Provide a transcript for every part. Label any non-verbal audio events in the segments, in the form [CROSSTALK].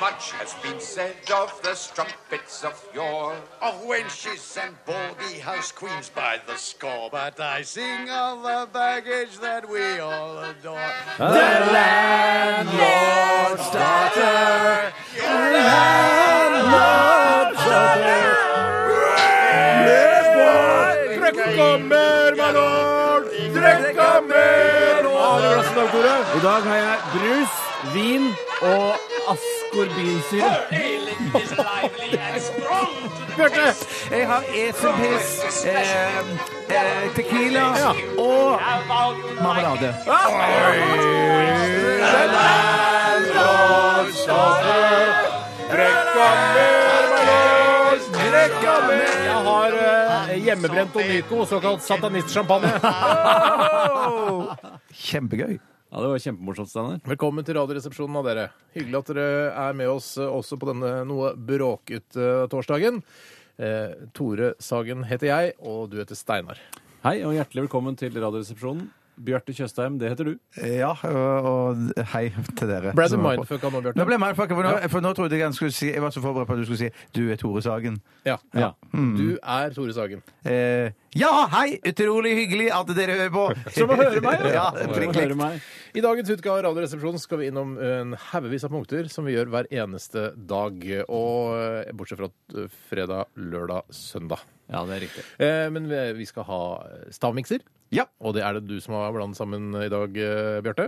Much has been said of the strumpets of yore, of wenches and baldy house queens by the score. But I sing of the baggage that we all adore. I dag har jeg brus, vin og askorbinsyre. Bjarte, jeg har eselpiss, eh, eh, tequila og marmelade. Jeg har eh, hjemmebrent Onico, såkalt satanistsjampanje. Kjempegøy. Ja, det var kjempemorsomt, Steinar. Velkommen til Radioresepsjonen av dere. Hyggelig at dere er med oss eh, også på denne noe bråkete torsdagen. Eh, Tore Sagen heter jeg, og du heter Steinar. Hei, og hjertelig velkommen til Radioresepsjonen. Bjarte Tjøstheim, det heter du. Ja, og og hei til dere. Ble du som er på. mindfucka nå, Bjarte? Nå ble jeg mindfucka, for, nå- for nå trodde jeg han skulle si Jeg var så forberedt på at du skulle si 'du er Tore Sagen'. Ja. Du er Tore Sagen. Eh, ja, hei! Utrolig hyggelig at dere hører på. Som å høre meg, [LAUGHS] ja. ja. prikk, prikk. Hører meg. I dagens utgave av Radioresepsjonen skal vi innom en haugevis av punkter som vi gjør hver eneste dag. Og eh, bortsett fra eh, fredag, lørdag, søndag. Ja, det er riktig. Eh, Men vi- vi skal ha stavmikser. Ja. Og det er det du som har blandet sammen i dag, eh, Bjarte.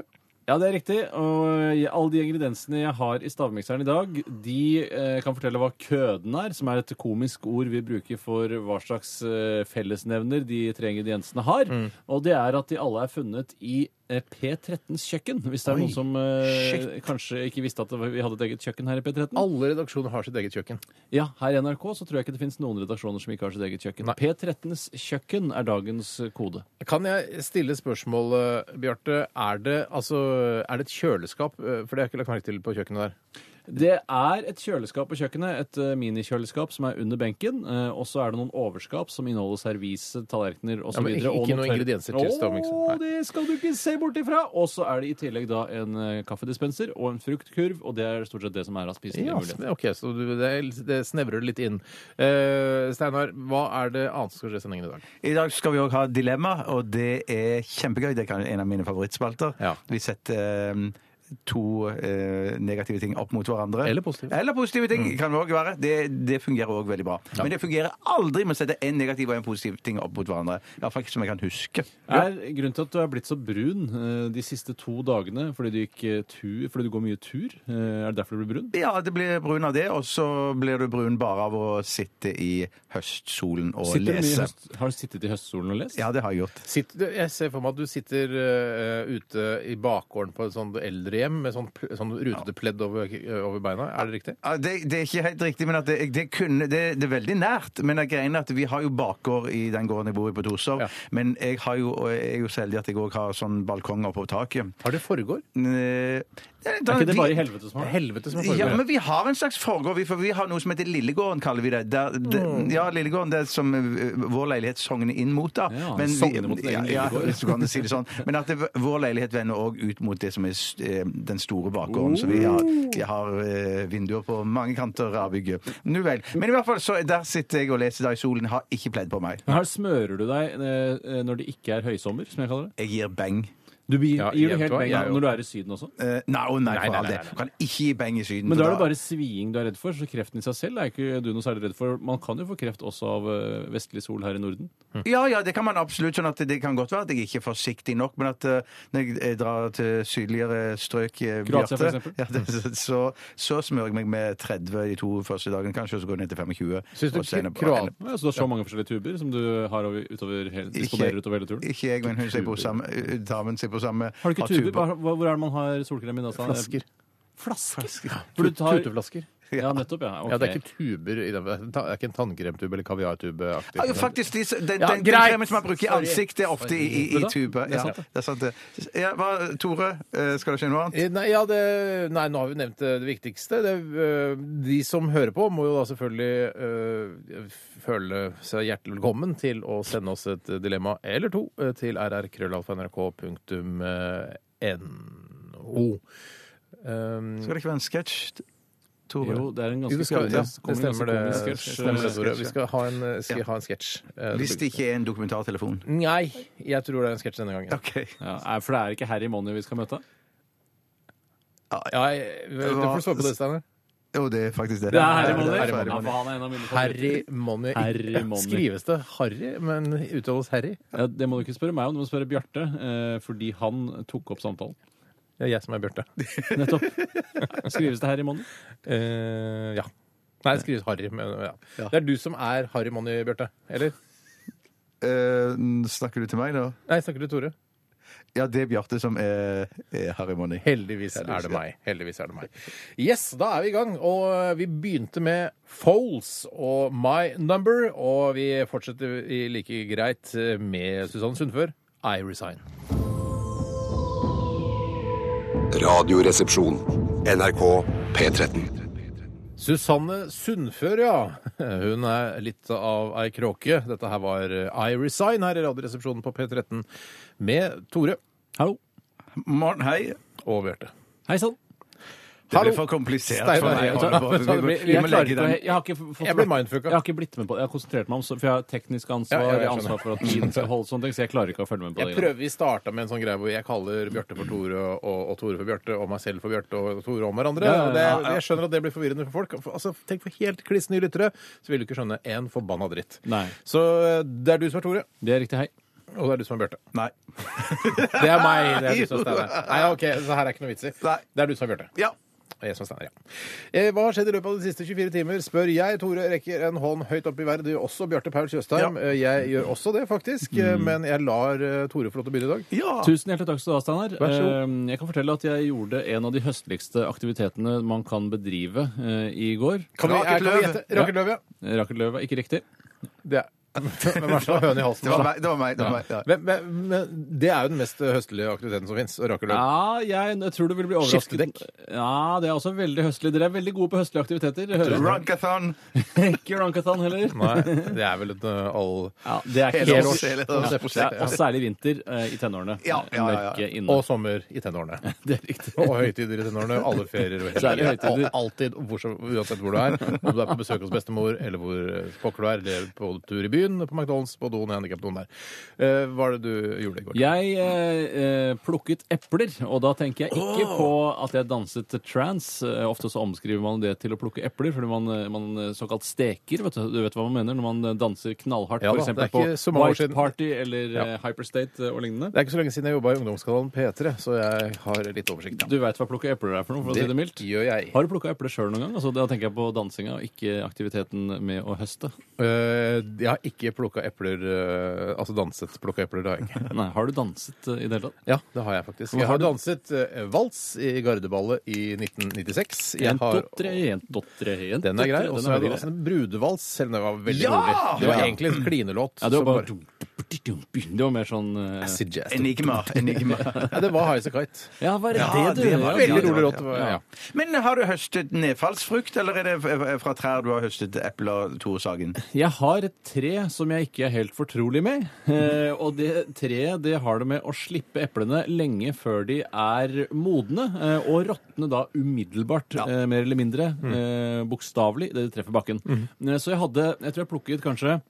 Ja, det er riktig. Og jeg- alle de ingrediensene jeg har i stavmikseren i dag, de eh, kan fortelle hva køden er, som er et komisk ord vi bruker for hva slags eh, fellesnevner de tre ingrediensene har. Og det er at de alle er funnet i eh, P13s kjøkken, hvis det er noen som eh, kanskje ikke visste at det var- vi hadde et eget kjøkken her i P13. Alle redaksjoner har sitt eget kjøkken. Ja, her i NRK så tror jeg ikke det finnes noen redaksjoner som ikke har sitt eget kjøkken. Nei. P13s kjøkken er dagens eh, kode. Kan jeg stille spørsmålet, Bjarte? Er det, altså, er det et kjøleskap? Eh, For det har jeg ikke lagt merke til på kjøkkenet der. Det er et kjøleskap på kjøkkenet, et eh, minikjøleskap som er under benken. eh, Og så er det noen overskap som inneholder servise, tallerkener osv. Ja, men ikke- ikke noen ingredienser til stavmiksen. Nei. Det skal du ikke se bort ifra! Og så er det i tillegg da en eh, kaffedispenser og en fruktkurv, og det er stort sett det som er av spiselige Ja, muligheter. men ok, så du, det, det snevrer det litt inn. Eh, Steinar, hva er det annet som skal skje i sendingen i dag? I dag skal vi òg ha dilemma, og det er kjempegøy. Det er en av mine favorittspalter. Ja. Vi setter eh, to eh, negative ting opp mot hverandre. Eller positive. Mm. Eller positive ting kan det òg være. Det, det fungerer òg veldig bra. Men det fungerer aldri med å sette en negativ og en positiv ting opp mot hverandre. Iallfall ikke som jeg kan huske. Er grunnen til at du er blitt så brun eh, de siste to dagene fordi du, gikk eh, tur, fordi du går mye tur? Eh, Er det derfor du blir brun? Ja, det blir brun av det, og så blir du brun bare av å sitte i høstsolen og Sitter du mye i lese. høst, har du sittet i høstsolen og lest? Ja, det har jeg gjort. Sitt, jeg ser for meg at du sitter eh, ute i bakgården på et sånt eldrehjem med sånn, pl- sånn rutete pledd over, eh, over beina. Er det riktig? Ja, det, det er ikke helt riktig, men at det, det, kunne, det, det er veldig nært. Men det er greien at vi har jo bakgård i den gården jeg bor i på Torshov. Ja. Men jeg, har jo, og jeg er jo så heldig at jeg òg har sånn balkong oppe på taket. Har det foregår? Eh, Er Er ikke det bare i helvete som har det? Helvete som Ja, foregår. men vi har en slags forgård. Vi, for vi har noe som heter Lillegården, kaller vi det. Der, det Mm. ja, Lillegården, det er som eh, vår leilighet sogner inn mot, da. Ja, vi- sogner mot sin egen ja, Lillegård. ja, hvis du kan si det sånn. Men at det, vår leilighet vender òg ut mot det som er s- eh, den store bakgården. Så vi har, Oh. vi har eh, vinduer på mange kanter av bygget. Nu vel. Men i hvert fall, så der sitter jeg og leser da i solen. Har ikke pledd på meg. Men Her smører du deg eh, når det ikke er høysommer, som jeg kaller det. Jeg gir beng. Du blir, Ja, gir jeg det helt vet hva, beng jeg av jo. når du er i Syden også. Eh, nei, å nei, Nei, for nei, nei, all del. nei. Du kan ikke gi beng i Syden. Men da for er det bare sviing du er redd for, så kreften i seg selv er ikke du noe særlig redd for. Man kan jo få kreft også av eh, vestlig sol her i Norden. Ja, ja, det kan man absolutt. sånn at Det kan godt være at jeg ikke er forsiktig nok, men at eh, når jeg eh, drar til sydligere strøk eh, Kroatia, for Bjarte, eksempel. ja, det, så, så smører jeg meg med 30 de to første dagene, kanskje, og så går det ned til 25. Syns du og så ikke ender- Kroat- Ja, altså, så du har så mange forskjellige tuber som du har over, utover, hele- disponerer utover hele turen. Ikke jeg, men hun ser på samme eh, Damen ser på samme Har du ikke tuber. tuber? Hva- hva- Hvor er det man har solkrem i nesa? Flasker. Flasker? For du tar, Tuteflasker. Ja, nettopp, ja. Ja, det er Ok. ikke tuber i den, det er ikke en tannkremtube eller kaviartube-aktig. Ja, jo, faktisk, de, den, den, Ja, den greit. kremen som man bruker i Sorry. ansiktet, er ofte i, i, i Sorry. tube. Det er Ja, sant, det er sant, det. Ja, hva, Tore, eh, skal du si noe annet? Eh, Nei, ja, det, nei, nå har vi nevnt eh, det viktigste. Det, eh, de som hører på, må jo da selvfølgelig eh, føle seg hjertelig velkommen til å sende oss et dilemma eller to eh, til eh, rrkrøllalfa.nrk.no. Um, Skal det ikke være en sketsj, Tore? Jo, det er en jo, ganske det, skal, komisk- ja, det kommer en stemmer det. eh, ganske det komisk Stemmer det, sketsj, Tore. Vi skal ha en, eh, skal ha en sketsj. Eh, Hvis det ikke er en dokumentartelefon. Nei, jeg tror det er en sketsj denne gangen. OK. eh, Ja, er- for det er ikke Harry Money vi skal møte? Ja, jeg, det får du svare på det, Steinar. Jo, det er faktisk det. Det er Harry Money. Money. Harry Money. Ja, for han er en av mine favoritter. Harry Money. Harry Money. [LAUGHS] Skrives det Harry, men uttales Harry? Ja, det må du ikke spørre meg om, du må spørre Bjarte, eh, fordi han tok opp [LAUGHS] samtalen. Det er jeg som er [LAUGHS] Bjarte. Nettopp. Skrives det Harry Money? Eh, ja. Nei, det skrives Harry. Men, ja. Det er du som er Harry Money, Bjarte. Eller? Eh, snakker du til meg, da? Nei, snakker du Tore? Ja, det er Bjarte som er, er Harry Money. Heldigvis er det meg. Heldigvis er det meg. Yes, da er vi i gang. Og eh, vi begynte med Foles og My Number. Og vi fortsetter i like greit eh, med Susanne Sundfør, I Resign. Radioresepsjon. NRK P13. Susanne Sundfør, ja. [LAUGHS] Hun er litt av ei kråke. Dette her var eh, I Resign her i Radioresepsjonen på P13 med Tore Hallo. Morn, hei. og Bjarte. Hei sann. Det Hallo. blir for komplisert Steinar, for meg. jeg å tar- holde på. Vet du hva, det blir- Vi må- Vi Jeg må klarer legge ikke å den Jeg har ikke fått- Jeg ble mindfucka. Jeg har ikke blitt med på det. Jeg har konsentrert meg om så- For jeg har teknisk ansvar, Ja, ja, jeg jeg har skjønner. ansvar for at tiden skal holde sånne ting, så jeg klarer ikke å følge med på Jeg det. prøver, Vi starta med en sånn greie hvor jeg kaller Bjarte for Tore og, og Tore for Bjarte og meg selv for Bjarte og Tore om hverandre. Ja, ja, Og ja, det, jeg skjønner at det blir forvirrende for folk. For, altså, tenk for helt kliss nye lyttere, så vil du ikke skjønne en forbanna dritt. Nei. Så eh, det er du som er Tore, Det er riktig, hei. og det er du som er Bjarte. Nei. Det er meg. det er du som er Steinar. [LAUGHS] Nei, ok, så her er ikke noe vits i. Nei. Det er du som er Bjarte. Ja. Og jeg som er Steinar, ja. Eh, Hva har skjedd i løpet av de siste 24 timer, spør jeg. Tore rekker en hånd høyt opp i været. Det gjør også Bjarte Paul Tjøstheim. Eh, Jeg gjør også det, faktisk. eh, Men jeg lar eh, Tore få lov til å begynne i dag. ja. Tusen hjertelig takk skal du ha, Steinar. Vær så god. Eh, Jeg kan fortelle at jeg gjorde en av de høstligste aktivitetene man kan bedrive eh, i går. Kan vi, er, Raket kan vi løv. gjette? Raket løv, ja. Rakel Løv var ikke riktig. Det er. Hvem er [LAUGHS] det som har høne i halsen? Det var meg. Det var meg. Det, var meg. Ja. Men, men, men det er jo den mest høstlige aktiviteten som fins. Raker løv. Ja, jeg, jeg tror du vil bli overrasket. Skiftedekk. Ja, det er også veldig høstlig. Dere er veldig gode på høstlige aktiviteter. Det Høres Runkathon. ikke Rankathon heller. Nei, det er vel et uh, all... Ja, det er ikke Hele helt års- års- hele Ja, årsprosjekt, ja, ja. og særlig vinter eh, i tenårene. Ja, ja, ja, ja. Mørke inne. Og sommer i tenårene. det er riktig. Og høytider i tenårene. Alle ferier og Særlig helger. høytider. Og Alltid, hvor, som- uansett hvor du er. Om du er på besøk hos bestemor, eller hvor eh, pokker du er, eller på tur i byen, på McDonald's, på doen, handikapdoen der. Eh, hva er det du gjorde i går? [LAUGHS] Jeg eh, eh, plukket epler, og da tenker jeg ikke på at jeg danset til trance. Eh, Ofte så omskriver man det til å plukke epler, fordi man, eh, man eh, såkalt steker. Vet du, du vet hva man mener når man eh, danser knallhardt, Ja da, for eksempel det er på ikke så mange år White siden. Party eller Ja. eh, Hyperstate eh, og lignende. Det er ikke så lenge siden jeg jobba i ungdomskanalen P3, så jeg har litt oversikt. Du veit hva plukke epler er for noe, for å si det mildt? gjør jeg. Har du plukka epler sjøl noen gang? Altså, da tenker jeg på dansinga, og ikke aktiviteten med å høste. Eh, jeg har ikke plukka epler eh, Altså danset plukka epler, det har jeg [LAUGHS] ikke. Nei, Har du danset eh, i det hele tatt? Ja, det har jeg faktisk. Jeg har danset eh, vals i gardeballet i 1996. Jeg En, har, to, tre, en, to, tre, en, den er grei. to, Og tre, så har den jeg er danset en brudevals, selv om det var veldig Ja! rolig. Det var Ja. egentlig en klinelåt. Ja, det var som bare Det var mer sånn eh, Acid jazz. Enigma. Enigma. Ja, det var Highasakite. Kite. Ja, var det det du det var- ja, Veldig det rolig var- låt. ja. Ja. Men har du høstet nedfallsfrukt, eller er det f- fra trær du har høstet epler, Tore Sagen? Jeg har et tre som jeg ikke er helt fortrolig med. Eh, og det treet det har det med å slippe eplene lenge før de er modne, eh, og råtne da umiddelbart, eh, mer eller mindre. Mm. Eh, Bokstavelig. Det treffer bakken. Eh, så jeg hadde Jeg tror jeg plukket kanskje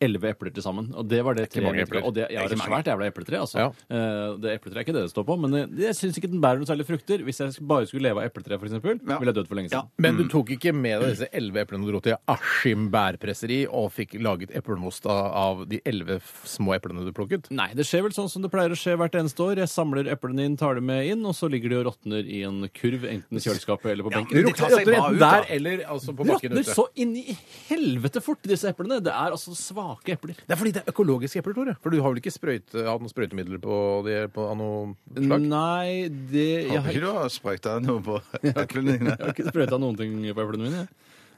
Elleve epler til sammen. Og det var det treet. mange mitt. epler. Og det, jeg har et svært jævla epletre. altså. Ja. Eh, det Epletreet er ikke det det står på, men eh, jeg syns ikke den bærer noen særlig frukter. Hvis jeg bare skulle leve av epletre, f.eks., Ja. ville jeg dødd for lenge Ja. siden. Men du tok ikke med deg disse elleve eplene du dro til Askim bærpresseri og fikk laget eplemost av, av de elleve små eplene du plukket? Nei, det skjer vel sånn som det pleier å skje hvert eneste år. Jeg samler eplene inn, tar dem med inn, og så ligger de og råtner i en kurv, enten i kjøleskapet eller på benken. men det tar seg bra ut, da. der eller altså på De bakken råtner ute. så inn i helvete fort, disse eplene! Det er altså sva... rake epler. Det er fordi det er økologiske epler, Tore. For du har vel ikke sprøyte, hatt noen sprøytemidler på det på, av noe slag? Nei, det Jeg Håper har ikke du har sprøyta noe [LAUGHS] på eplene dine. Jeg har ikke sprøyta noen ting på eplene mine.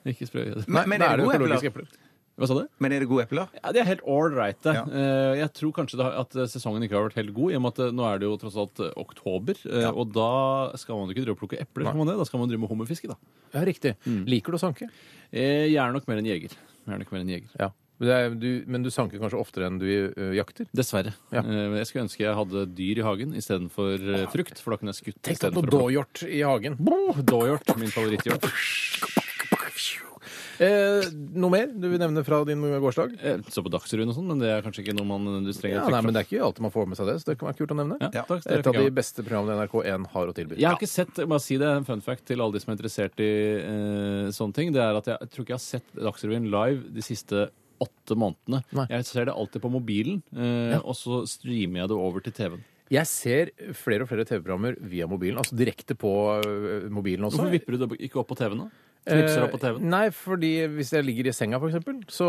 jeg. Ikke sprøyta. Men, men, da er det jo gode epler? økologiske epler. Hva sa du? men er det gode epler? Ja, det er helt ålreit, det. Ja. Eh, Jeg tror kanskje det har, at sesongen ikke har vært helt god, i og med at eh, nå er det jo tross alt eh, oktober. eh, Og da skal man jo ikke drive og plukke epler, skal man det? da skal man drive med hummerfiske, da. Ja, riktig. Liker du å sanke? Eh, Jeg er nok mer en jeger. Jeg er nok mer en jeger. Ja. Men, det er, du, men du sanker kanskje oftere enn du ø, jakter? Dessverre. Ja. Eh, Jeg skulle ønske jeg hadde dyr i hagen istedenfor eh, frukt, for da kunne jeg skutt Tenk deg istedenfor å på plukke. dåhjort i hagen. Dåhjort, min favoritthjort. Eh, noe mer du vil nevne fra din gårsdag? Eh, Så på Dagsrevyen og sånn, men det er kanskje ikke noe man nødvendigvis trenger Ja, å nei, trekke men fram. Det er ikke alltid man får med seg det, så det kan være kult å nevne. Ja, takk, det Et av fikk jeg de med. beste programmene NRK1 har å tilby. Jeg har ikke sett, jeg må si det, en fun fact til alle de som er interessert i eh, sånne ting. Det er at jeg, tror ikke jeg har sett Dagsrevyen live de siste åtte månedene. Nei. Jeg ser det alltid på mobilen, eh, og så streamer jeg det over til TV-en. Jeg ser flere og flere TV-programmer via mobilen, altså direkte på ø, mobilen også. Hvorfor vipper du det ikke opp på TV-en, da? Knipser opp på Eh, TV-en? Nei, fordi hvis jeg ligger i senga, for eksempel, så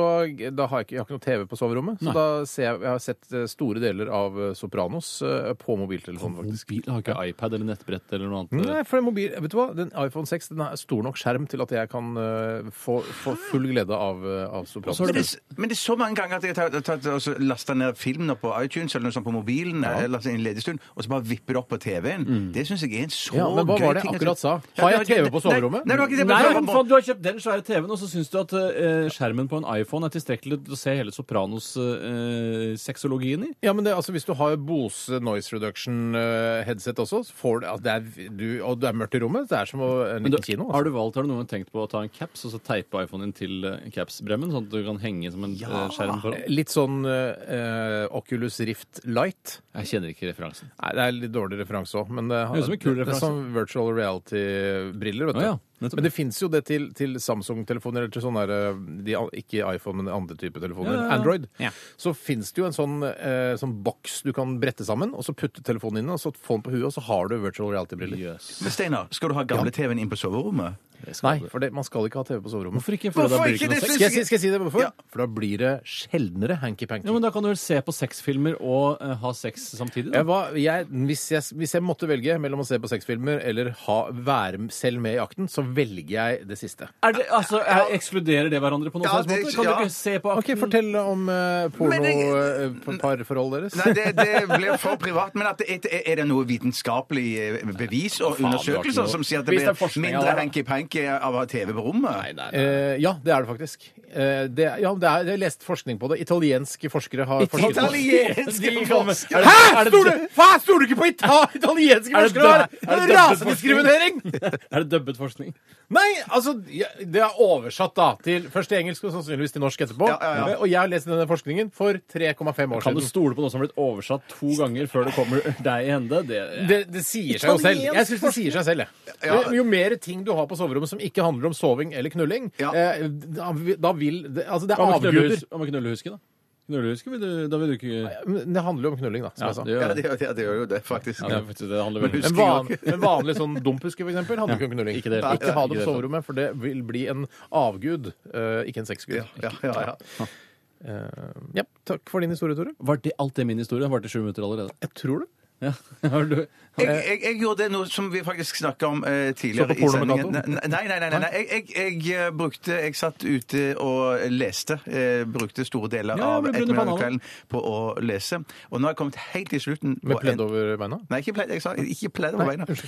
da har jeg ikke, jeg har ikke noe TV på soverommet. Så Nei. da ser jeg, jeg har sett eh, store deler av eh, Sopranos eh, på mobiltelefonen, faktisk. Mobil har ikke iPad eller nettbrett eller noe annet. Nei, for den mobil, vet du hva? Den iPhone 6 den er stor nok skjerm til at jeg kan eh, få, få full glede av, eh, av Sopranos. Men det, er- men det er så mange ganger at jeg har tatt- tatt- altså, lasta ned film nå på iTunes eller noe sånt på mobilen eller altså, i en ledig stund, og så bare vipper det opp på TV-en. Det syns jeg er en så Ja, men hva gøy var det jeg ting å- akkurat sa? Har Ja, det jeg var- TV på soverommet? Nei, nei, du har ikke TV på Nei, men soverommet. faen, du har kjøpt den svære TV-en, og så syns du at eh, skjermen på en iPhone er tilstrekkelig til å se hele Sopranos-sexologien i. Ja, men det, altså, Hvis du har Bose noise reduction eh, headset også, så får du, altså, det er, du, og det er mørkt i rommet. Det er som å en Men liten du, kino. Har Altså. du valgt, har du noen gang tenkt på å ta en caps og så teipe iPhonen din til eh, capsbremmen, sånn at du kan henge som en eh, skjerm foran? Litt sånn eh, Oculus Rift Light. Jeg kjenner ikke referansen. Nei, det er litt dårlig referanse òg, men det, Høres ut som en kul det er referanse. sånn virtual reality-briller, vet du. Å ja, nettopp. men det fins jo det til, til Samsung-telefoner, eller til sånne der, eh, de, ikke iPhone, men andre typer telefoner. Ja, ja, ja. Android. Ja. Så fins det jo en sånn, eh, sånn boks du kan brette sammen, og så putte telefonen inn, og så få den på huet, og så har du virtual reality-briller. Jøs. Men Steinar, skal du ha gamle TV-en inn på soverommet? Nei, for det, man skal ikke ha TV på soverommet. Hvorfor ikke? For da Hvorfor blir det ikke? ikke noe Det sex. Skal jeg, si- skal jeg si det hvorfor? Ja. For da blir det sjeldnere hanky-panky. Ja, men da kan du vel se på sexfilmer og eh, ha sex samtidig? Jeg Da. var, jeg, hvis, jeg, hvis jeg måtte velge mellom å se på sexfilmer eller ha, være selv med i akten, så velger jeg det siste. Er det, altså, er, ekskluderer det hverandre på noen Ja, slags måte? det- Kan ja. du ikke se på Ok, Fortell om uh, Mm. Men jeg- porno-parforholdet deres. Nei, det, det blir for privat. Men at det, er- er det noe vitenskapelig eh, bevis og Faen, det har ikke undersøkelser noe- som sier at Hvis det det er blir forskning, ja, mindre da. hanky-panky av å ha TV på rommet? [LAUGHS] Eh, ja, det er det faktisk. Eh, det, ja, det er, jeg har lest forskning på det. Italienske forskere har forsket på det. Italienske De kommer- forskere! Er det- Hæ! er det- Står du, faen, står du ikke på ita [LAUGHS] italienske Er det forskere? dø- Det er er det Rasediskriminering! Er det dubbet forskning? Nei, altså ja, Det er oversatt da til først til engelsk og sannsynligvis til norsk etterpå. Ja, ja, ja. Eh, Og jeg har lest denne forskningen for 3,5 år Kan du siden. stole på noe som har blitt oversatt to ganger før det kommer [LAUGHS] deg i hende? Det, Det, det sier seg jo selv. Jeg synes det sier seg selv, jeg. Jo- Jo mer ting du har på soverommet som ikke handler om soving eller knulling, Ja. eh, da, vil- da vil det- Altså, det er Hva med avguder. knullehus- hva med knullehuske, da? Knullehuske, vil du, da vil du ikke Men Det handler jo om knulling, da, som jeg sa. det gjør Ja, det. det, gjør- det, det gjør jo det, faktisk. Ja, det, er faktisk- det handler Men veldig En, husk- van, en vanlig sånn dumphuske, for eksempel, handler ikke om knulling. ikke det hele tatt. Ikke ha Ikke det det på hele soverommet, for det vil bli en avgud, eh, ikke en sexgud. Ja, ja, ja, ja. Eh, ja, takk for din historie, Tore. Var det alt det min historie? Var det sju minutter allerede? Jeg tror det. Ja. [LAUGHS] Har du... Jeg, jeg, jeg gjorde det noe som vi faktisk snakka om eh, tidligere Så på porno med Nei, dato? nei, nei. nei, nei, nei. Jeg, jeg, jeg eh, brukte Jeg satt ute og leste. Eh, brukte store deler Ja, ja, av med bundet ettermiddagen og banan. kvelden på å lese. Og nå har jeg kommet helt til slutten. på Med pledd en- over beina. Nei, ikke pledd. Jeg sa ikke pledd over beina.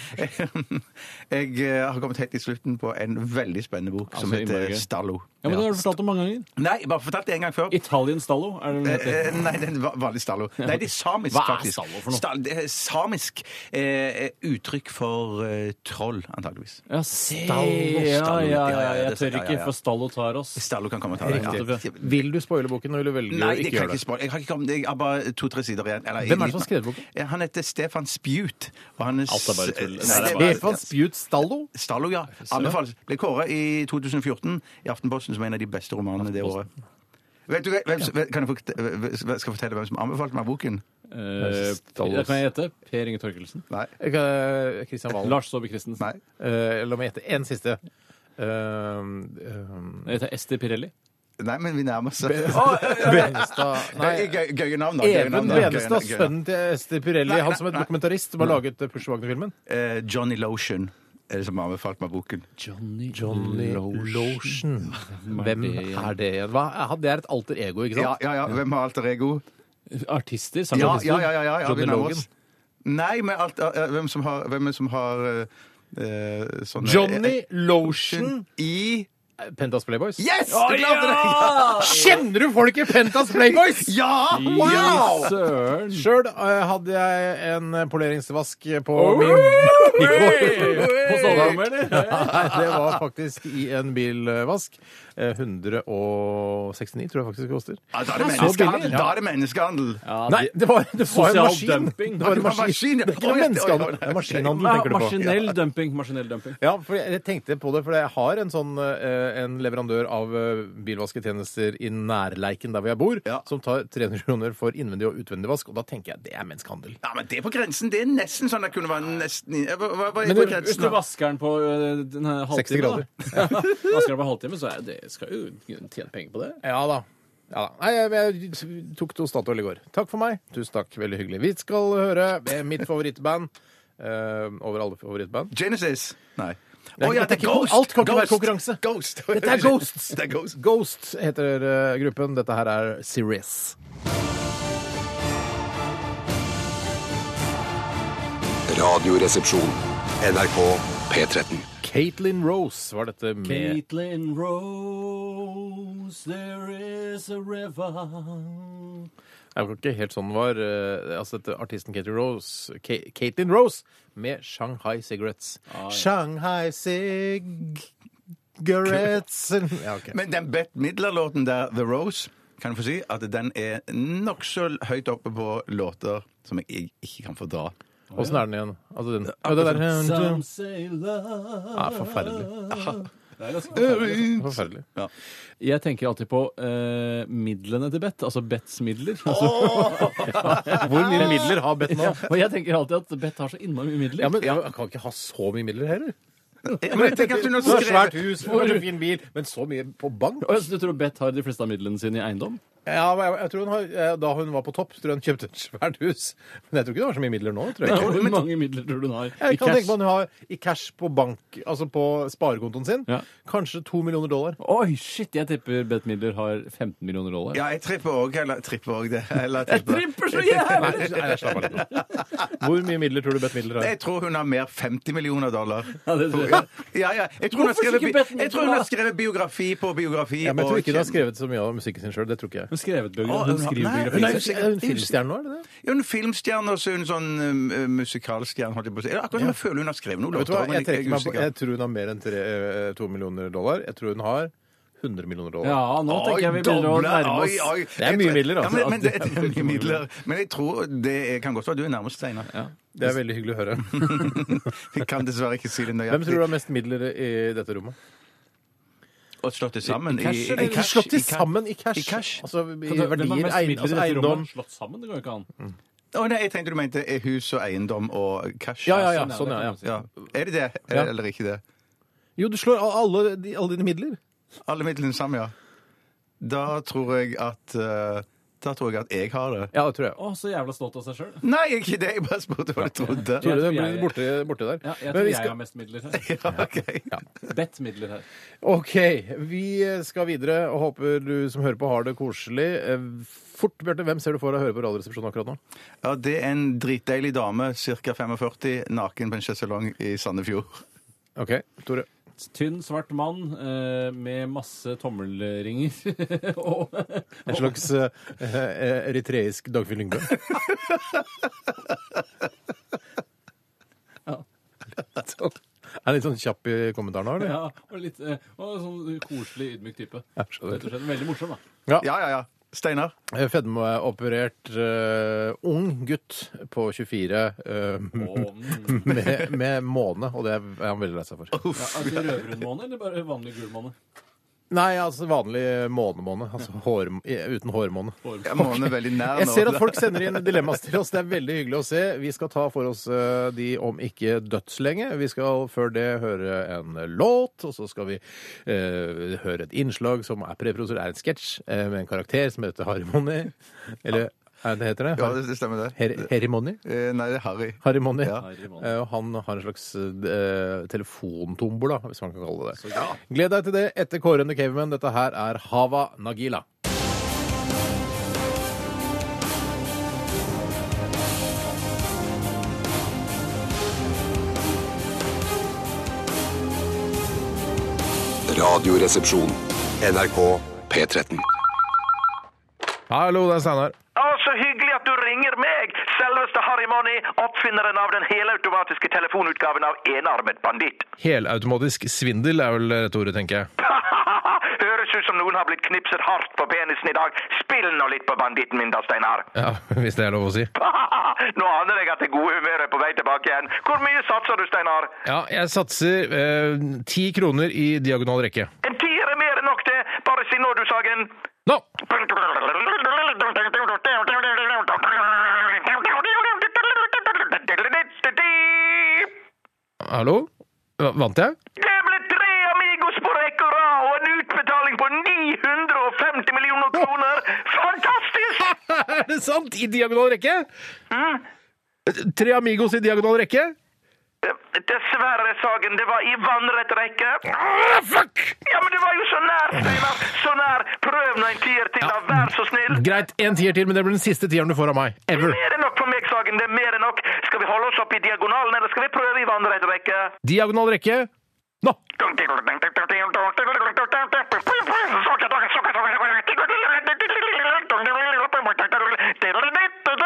[LAUGHS] Jeg eh, har kommet helt til slutten på en veldig spennende bok som Altså, innmari heter gøy. Stallo. Ja, men Det har du fortalt om mange ganger. Nei, jeg bare fortalte det en gang før. Italien Stallo, er det den Eh, heter? eh, Nei, det er va- vanlig stallo. Nei, det er samisk, Hva er faktisk. stallo for noe? Stal- det er samisk eh, uttrykk for eh, troll, antageligvis. Ja, se! Ja, Stallo, ja, Eh, Stallo. ja, Ja, ja, ja, Jeg det- tør ja, ja, ikke, ja. for Stallo tar oss. Stallo kan komme og ta det. Riktig. Ja. Vil du spoile boken, eller vil du velge Nei, å ikke det kan gjøre jeg ikke det? spoil. Jeg har ikke kommet, jeg har bare to-tre sider igjen. Eller, Hvem er det som har skrevet boken? Ja, Han heter Stefan Spjut. Og han er, Alt er bare tull. Nei, Nei, det er bare- Stefan Spjut Stallo? Stallo, ja. Anbefales. Ble kåret i 2014 i Aftenposten som en av de beste romanene det året. Vet du, hva- hvem, som- kan jeg fort- hvem- skal jeg fortelle hvem som anbefalte meg boken? Eh, Stallos. da kan jeg gjette. Per Inge Torkelsen. Nei. Eh, Christian Valen. Lars Saabye Christensen. Nei. Eh, la meg gjette én siste. Eh, eh, Jeg heter Esti Pirelli. Nei, men vi nærmer oss. [LAUGHS] Benestad Nei. Det er gøy- Gøye navn. da, gøye Even navn, da. Gøye- Benestad, gøye navn. sønnen til Ester Pirelli, han som er dokumentarist, som har laget eh, Push Wagner-filmen. Eh, Johnny Lotion er det som har anbefalt meg boken. Johnny, Lotion. Hvem det igjen? er det igjen? Hva? er- Det er et alter ego, ikke Ja, sant? ja, ja. Hvem har alter ego? Artister? Ja, sangartister? ja, ja. ja, ja, ja. Johnny vi nærmer Logan. oss. Nei, men alt, eh, hvem som har, hvem er som har eh, eh, sånne Johnny eh, Lotion i Pentas Playboys. Yes! Du klarte Ah, det! Kjenner du folk i Pentas Playboys?! Ja! Wow! Fy Søren! Sjøl eh, hadde jeg en poleringsvask på min [LAUGHS] På Stålholm, eller? Nei, det var faktisk i en bilvask. Eh, 169 tror jeg faktisk det koster. Ja, da er det Så menneskehandel! billig, ja. Da er det menneskehandel. Nei, det var, det var en Sosial maskin. dumping. Det var en Ja, det var maskin. maskin, ja. Det er ikke noe Oi, oi, oi, oi. menneskehandel. Det er maskinhandel Ja, du tenker du på. maskinell dumping. Maskinell dumping. Ja, for jeg, jeg tenkte på det, for jeg har en sånn eh, en leverandør av eh, bilvasketjenester i nærleiken der hvor jeg bor, Ja. som tar 300 kroner for innvendig og utvendig vask, og da tenker jeg det er menneskehandel. Ja, men det er på grensen. Det er nesten sånn det kunne være nesten i- Hva, hva, hva er Men på du- Hvis grensen? du da? vasker den på øh, den her halvtime 60 grader. Da. Vasker den på halvtime, så er det, skal jo tjene penger på det. Ja da. Ja, da. Nei, jeg, jeg tok to Statoil i går. Takk for meg. Tusen takk. Veldig hyggelig. Vi skal høre eh, mitt favorittband. eh, over alle favorittband. Genesis? Nei. er Å ikke- ja, det er ikke- alt kan ikke være konkurranse. Ghost. Dette er Ghosts! [LAUGHS] det er Ghost. Ghost heter eh, gruppen. Dette her er Serious. Radioresepsjon. NRK P13. Caitlin Rose var dette med Caitlin Rose, there is a river Jeg var ikke helt sånn den var. eh, altså dette Artisten Katie Rose, Ka- Caitlin Rose med Shanghai Cigarettes. Shanghai Cigarettes ja, ok. Men den Bette Midler-låten der, The Rose, kan jeg få si at den er nokså høyt oppe på låter som jeg ikke kan fordra. Åssen er den igjen? Altså den ja, det der, Some say love ja, Forferdelig. Det er ganske forferdelig. forferdelig. Jeg tenker alltid på eh, midlene til Bett, altså Betts midler. Altså, [LAUGHS] Hvor mye midler har Bett nå? og jeg tenker alltid at Bett har så innmari mye midler. Ja, men Jeg kan ikke ha så mye midler heller. Ja, Men jeg tenker at hun har Du har svært skrevet hus, du har en fin bil, men så mye på bank? Og jeg- så du tror Bett har de fleste av midlene sine i eiendom? Ja, men jeg, jeg tror hun har, eh, Da hun var på topp, tror jeg hun kjøpte et svært hus. Men jeg tror ikke det var så mye midler nå. tror jeg ikke. Hvor mange midler tror du hun har i Jeg kan cash? tenke meg at hun har i cash på bank, altså på sparekontoen sin, Ja. kanskje to millioner dollar. Oi, shit! Jeg tipper Bett Midler har 15 millioner dollar. Ja, jeg tripper òg, eller tripper òg det. Eller, tripper. Tripper så jævlig! Nei, jeg slapp av litt nå. [LAUGHS] Hvor mye midler tror du Bett Midler har? Jeg tror hun har mer 50 millioner [LAUGHS] dollar. Ja, det tror jeg. Ja, ja. Jeg tror hun har Hvorfor skrevet, ikke bi- Bette jeg tror hun har skrevet biografi på biografi. Ja, men jeg tror og- ikke du har skrevet så mye av musikken sin sjøl. Det tror ikke jeg. Hun skrevet Å, biografi. Hun hun har- skriver nei, biografi. Hun er er, jo sikkert- hun filmstjerne nå, er det det? Ja, Hun er filmstjerne og så er hun sånn uh, musikalstjerne. holdt jeg på å si. Eller Akkurat som jeg føler hun har skrevet noen Vet du låter. hva, men jeg, trekker meg er på, usikker. jeg tror hun har mer enn tre, eh, to millioner dollar. Jeg tror hun har 100 millioner dollar. Ja, nå tenker jeg vi begynner å doble, nærme oi, oi. oss. Det er mye midler, altså. Ja, men, men, det, det er mye midler. Men jeg tror det er- kan godt være du er nærmest, Steinar. Det er veldig hyggelig å [LAUGHS] høre. Vi kan dessverre ikke si det Hvem tror nøyaktig. du har mest midler i dette rommet? Og slått det sammen i, cash, eller? i cash. Slått i til cash. sammen i cash. I cash. Altså i Kan du- hvem har verdier, mest eiendom, midler i altså, dette rommet? eiendom. Slått sammen? Det går jo ikke an. Å, nei, jeg tenkte du mente eh, hus og eiendom og cash. Altså, Ja, ja, ja. Sånn er Sånn, det, ja, kan ja. Ja. Er det det, Ja. eller ikke det? Jo, du slår all- alle, de- alle dine midler. Alle midlene sammen, ja. Da tror jeg at eh, Da tror jeg at jeg har det. Ja, det tror jeg. Å, så jævla stolt av seg sjøl. Nei, ikke det! Jeg bare spurte hva du trodde. Tore, det Jeg tror blir jeg- borte, borte der. Ja, jeg Men tror vi jeg skal- har mest midler her. [LAUGHS] Ja, ok. Bett midler her. OK, vi skal videre og håper du som hører på, har det koselig. Eh, Fort, Bjarte, hvem ser du for deg hører på Radioresepsjonen akkurat nå? Ja, det er en dritdeilig dame, ca. 45, naken på en sjeselong i Sandefjord. OK, Tore. Tynn, svart mann eh, med masse tommelringer. [LAUGHS] og En slags eh, eh, eritreisk Dagfinn Lyngbø. Litt sånn- Er han litt sånn kjapp i kommentaren nå, eller? Ja, og litt eh, og sånn koselig, ydmyk type. Ja, skjønner. Rett og slett. Veldig morsom, da. Ja, ja, ja. Steinar? Eh, Fedmeoperert eh, ung gutt på 24 eh, med, med måne, og det er han veldig lei seg for. Ja, altså Rødbrun måne eller bare vanlig gul måne? Nei, altså vanlig månemåne. Altså hår, uten hårmåne. [LAUGHS] Jeg måner veldig nær Jeg nå. ser at folk sender inn dilemmaer til oss. Det er veldig hyggelig å se. Vi skal ta for oss eh, de om ikke dødslenge. Vi skal før det høre en låt, og så skal vi eh, høre et innslag som er preproser, er en sketsj eh, med en karakter som heter Harmony. Eller hva det heter Ja, det? det det stemmer, det. Her Herimony? Eh, Nei, det er Harry. Harimoni. Ja. Eh, og han har en slags eh, telefontombola, hvis man kan kalle det det. Gled deg til det etter Kåren og Caveman. Dette her er Hava Nagila. Radioresepsjon. NRK P13. Hallo, det er Steinar. Å, så hyggelig at du ringer meg! Selveste Harry Money, oppfinneren av den helautomatiske telefonutgaven av Enarmet banditt. [LAUGHS] Helautomatisk svindel er vel rett ordet, tenker jeg. Høres ut som noen har blitt knipset hardt på penisen i dag. Spill nå litt på banditten min da, Steinar. [LAUGHS] Ja, [LAUGHS] Hvis det er lov å si. nå aner jeg at det gode humøret er på vei tilbake igjen. Hvor mye satser du, Steinar? Ja, jeg satser eh, ti kroner i diagonal rekke. En tier er mer enn nok det. Bare si når du, Sagen. Nå! [LAUGHS] Hallo? Vant jeg? [LAUGHS] Det ble tre Amigos på rekke og rad og en utbetaling på 950 millioner kroner! Fantastisk! Er det sant? I diagonal rekke? Tre amigos i diagonal rekke? Dessverre, Sagen, det var i vannrett rekke. Ah, fuck! Ja, men det var jo så nær, Steinar! Så nær! Prøv nå en tier til, da. Vær så snill. Greit, en tier til, men det blir den siste tieren du får av meg. Ever. Mer enn nok for meg, Sagen. Det er mer enn nok. Skal vi holde oss opp i diagonalen, eller skal vi prøve i vannrett rekke? Diagonal rekke. Nå! Du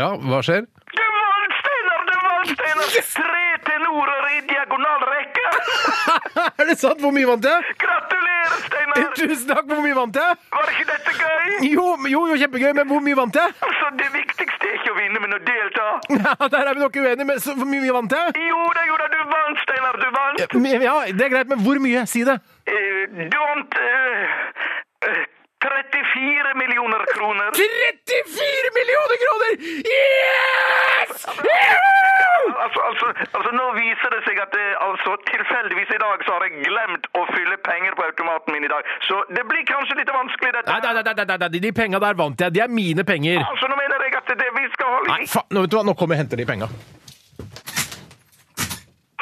Ja, hva skjer? [LAUGHS] vant, Steinar! Du vant, Steinar! Tre tenorer i diagonal rekke! Er det sant? Hvor mye vant jeg? [LAUGHS] Gratulerer, Steinar! Tusen takk! Hvor mye vant jeg? Var ikke dette gøy? Jo, jo, jo, kjempegøy, men hvor mye vant jeg? [LAUGHS] Altså, det viktigste er ikke å vinne, men å delta. Ja, Der er vi nok uenige, men så, hvor mye vant jeg? Jo da, jo da, du vant, Steinar! Du vant! Men- Ja, det er greit, men hvor mye? Si det. Eh, Du vant eh, eh, 34 millioner kroner. 34 millioner kroner! Yes! Juhu! Altså, altså, altså, nå viser det seg at eh, altså, tilfeldigvis i dag så har jeg glemt å fylle penger på automaten min i dag. Så det blir kanskje litt vanskelig dette. Nei, nei, nei, nei, nei, nei, de penga der vant jeg. De er mine penger. Altså, nå mener jeg at det vi skal holde Nei, faen, nå, vet du hva, nå kommer jeg og henter de penga.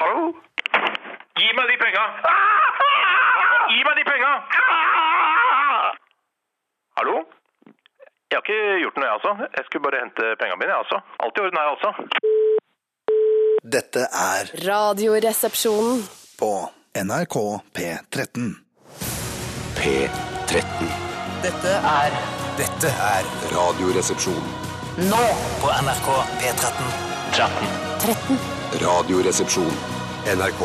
Hallo? Ah! Gi meg de penga! Gi meg de penga! Hallo? Jeg har ikke gjort noe, jeg, altså. Jeg skulle bare hente penga mine, jeg, altså. Alt i orden her, altså. Dette er Radioresepsjonen. på NRK P13. P13. Dette er Dette er Radioresepsjon. nå på NRK P13. 13. Radioresepsjon. NRK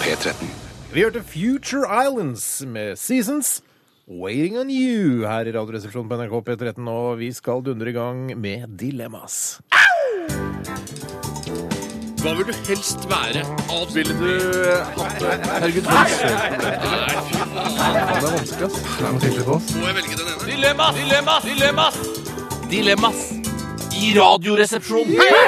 P13. Vi hørte Future Islands med Seasons. Waiting on you her i Radioresepsjonen på NRK P13, og vi skal dundre i gang med Dilemmas.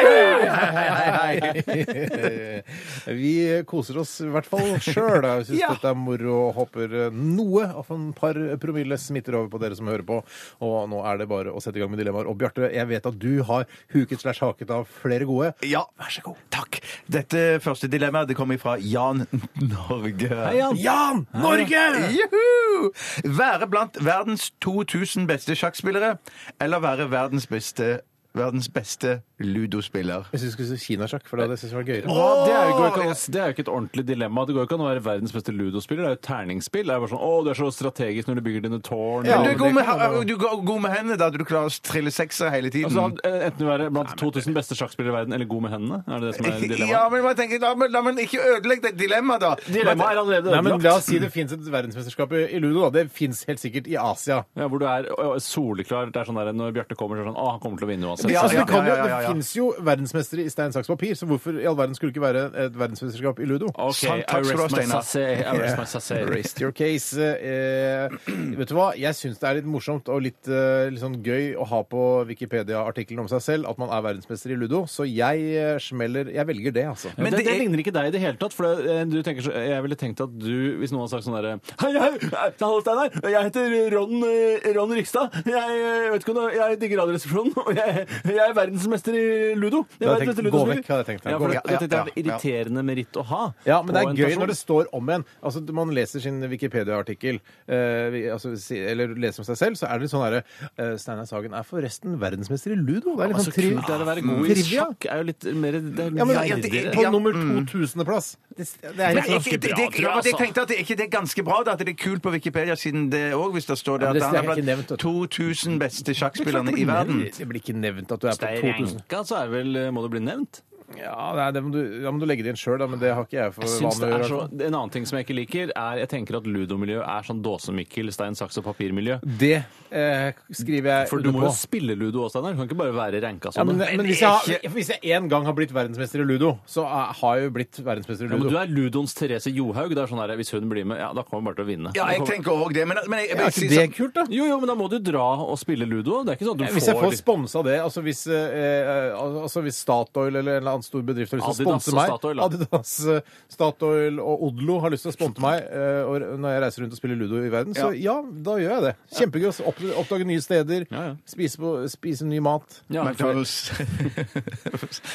Hei, hei. Vi koser oss i hvert fall sjøl. Jeg syns dette er moro og håper noe av en par promille smitter over på dere som hører på. Og nå er det bare å sette i gang med dilemmaer. Og Bjarte, jeg vet at du har huket slash haket av flere gode. Ja, vær så god. Takk. Dette første dilemmaet det kommer fra Jan Norge. Hei, Jan. Jan! Norge! Juhu! Være blant verdens 2000 beste sjakkspillere, eller være verdens beste Verdens beste ludospiller. Jeg syns du skulle si kinasjakk, for det hadde jeg syntes var gøyere. Åh, det, er jo, går ikke, an- det er jo ikke et ordentlig dilemma. Det går jo ikke an å være verdens beste ludospiller. Det er jo et terningspill. Det er bare sånn, å, du er så strategisk når du bygger dine tårn. Men du er og- god med, du er god med hendene, da. Du klarer å trille sekser hele tiden. altså, enten du er blant 2000 beste sjakkspillere i verden, eller god med hendene. Er det det som er dilemmaet? [LAUGHS] [LAUGHS] ja, men jeg tenker, la, meg- la meg ikke ødelegge det dilemmaet, da. Dilemmaet er allerede Nei, men ødelagt. La oss si det fins et verdensmesterskap i i ludo. da. Det fins helt sikkert i Asia. Ja, hvor du er ø, ø, soleklar. Det er sånn der, Når Bjarte kommer, så er det sånn Å, han kommer til å vinne uansett. prosent. Ja, altså, Ja, det kan jo, ja, ja, ja. det finnes jo verdensmestere i stein, saks, papir, så hvorfor i all verden skulle det ikke være et verdensmesterskap i ludo? OK, Sant, I takk skal du ha, rest my Steinar. sassy. I rest my sassy. [LAUGHS] Rest your case. Eh, vet du hva? Jeg syns det er litt morsomt og litt, eh, litt sånn gøy å ha på Wikipedia-artikkelen om seg selv at man er verdensmester i ludo, så jeg eh, smeller Jeg velger det, altså. Men Men det, det det er- ligner ikke deg i det hele tatt. For det, eh, du tenker så, jeg ville tenkt at du, hvis noen hadde sagt sånn derre Hei, hei, hei, hallo, Steinar. Jeg heter Ron, eh, Ron Rikstad. Jeg, eh, vet ikke om, du- jeg digger Radioresepsjonen, og jeg, jeg er verdensmester i ludo. Jeg Da er tenkte- verdensmester i gå ludospiller. vekk, hadde jeg tenkt. Ja, Gå for det, vekk. Ja, det, det er et ja, ja. irriterende meritt å ha. Ja, men det på en er gøy person. når det står om en. Altså, Man leser sin Wikipedia-artikkel eh, vi- altså, si- eller leser om seg selv, så er det litt sånn herre eh, Steinar Sagen er forresten verdensmester i ludo. Det er litt Altså, sånn tri- kult det er å være god i trivia. sjakk. Er jo litt mer det mm. er Ja, men ja, nerdere. det- På ja, nummer 2000.-plass. Det, det er Men litt jeg, ganske det, det, bra, ja, tror jeg. men jeg altså. tenkte at det, ikke, det er ganske bra da, at det er kult på Wikipedia, siden det òg, hvis det står der Ja, men at det han er har ikke nevnt, blant vet 2000 beste sjakkspillerne Det i blir verden. nevnt. Det blir ikke nevnt at du er på Hvis det er 2000. ranka, så er vel, eh, må det bli nevnt. Ja, nei, det må du, da må du legge det inn sjøl, men det har ikke jeg for Jeg synes det vane å er gjøre. så, altså. En annen ting som jeg ikke liker, er jeg tenker at ludommiljø er sånn Dåse-Mikkel, stein, saks og papir-miljø. Det eh, skriver jeg For du må under jo på. spille ludo òg, Steinar. Du Kan ikke bare være ranka Ja, som men, det. men hvis jeg, har, hvis jeg en gang har blitt verdensmester i ludo, så er- har jeg jo blitt verdensmester i Ja, men ludo. du er ludoens Therese Johaug. Det er sånn her, Hvis hun blir med, ja, da kommer hun bare til å vinne. Ja, jeg Da kommer- tenker òg det, men, men jeg, jeg, Er vil si ikke det sånn- kult, da? Jo, jo, men da må du dra og spille ludo. Det er ikke sånn at du Ja, får, Hvis jeg får sponsa det, altså hvis, eh, al- altså hvis Statoil eller en eller annen stor bedrift har lyst til å Adidas sponse og meg Statoil, da. Adidas, eh, Statoil og Odlo har lyst til å sponse meg eh, og når jeg reiser rundt og spiller ludo i verden, så ja, da gjør jeg det. Kjempegøy å s- opp, oppdage nye steder, Ja, ja. Spise, på, spise ny mat. Ja, [LAUGHS] McDonald's.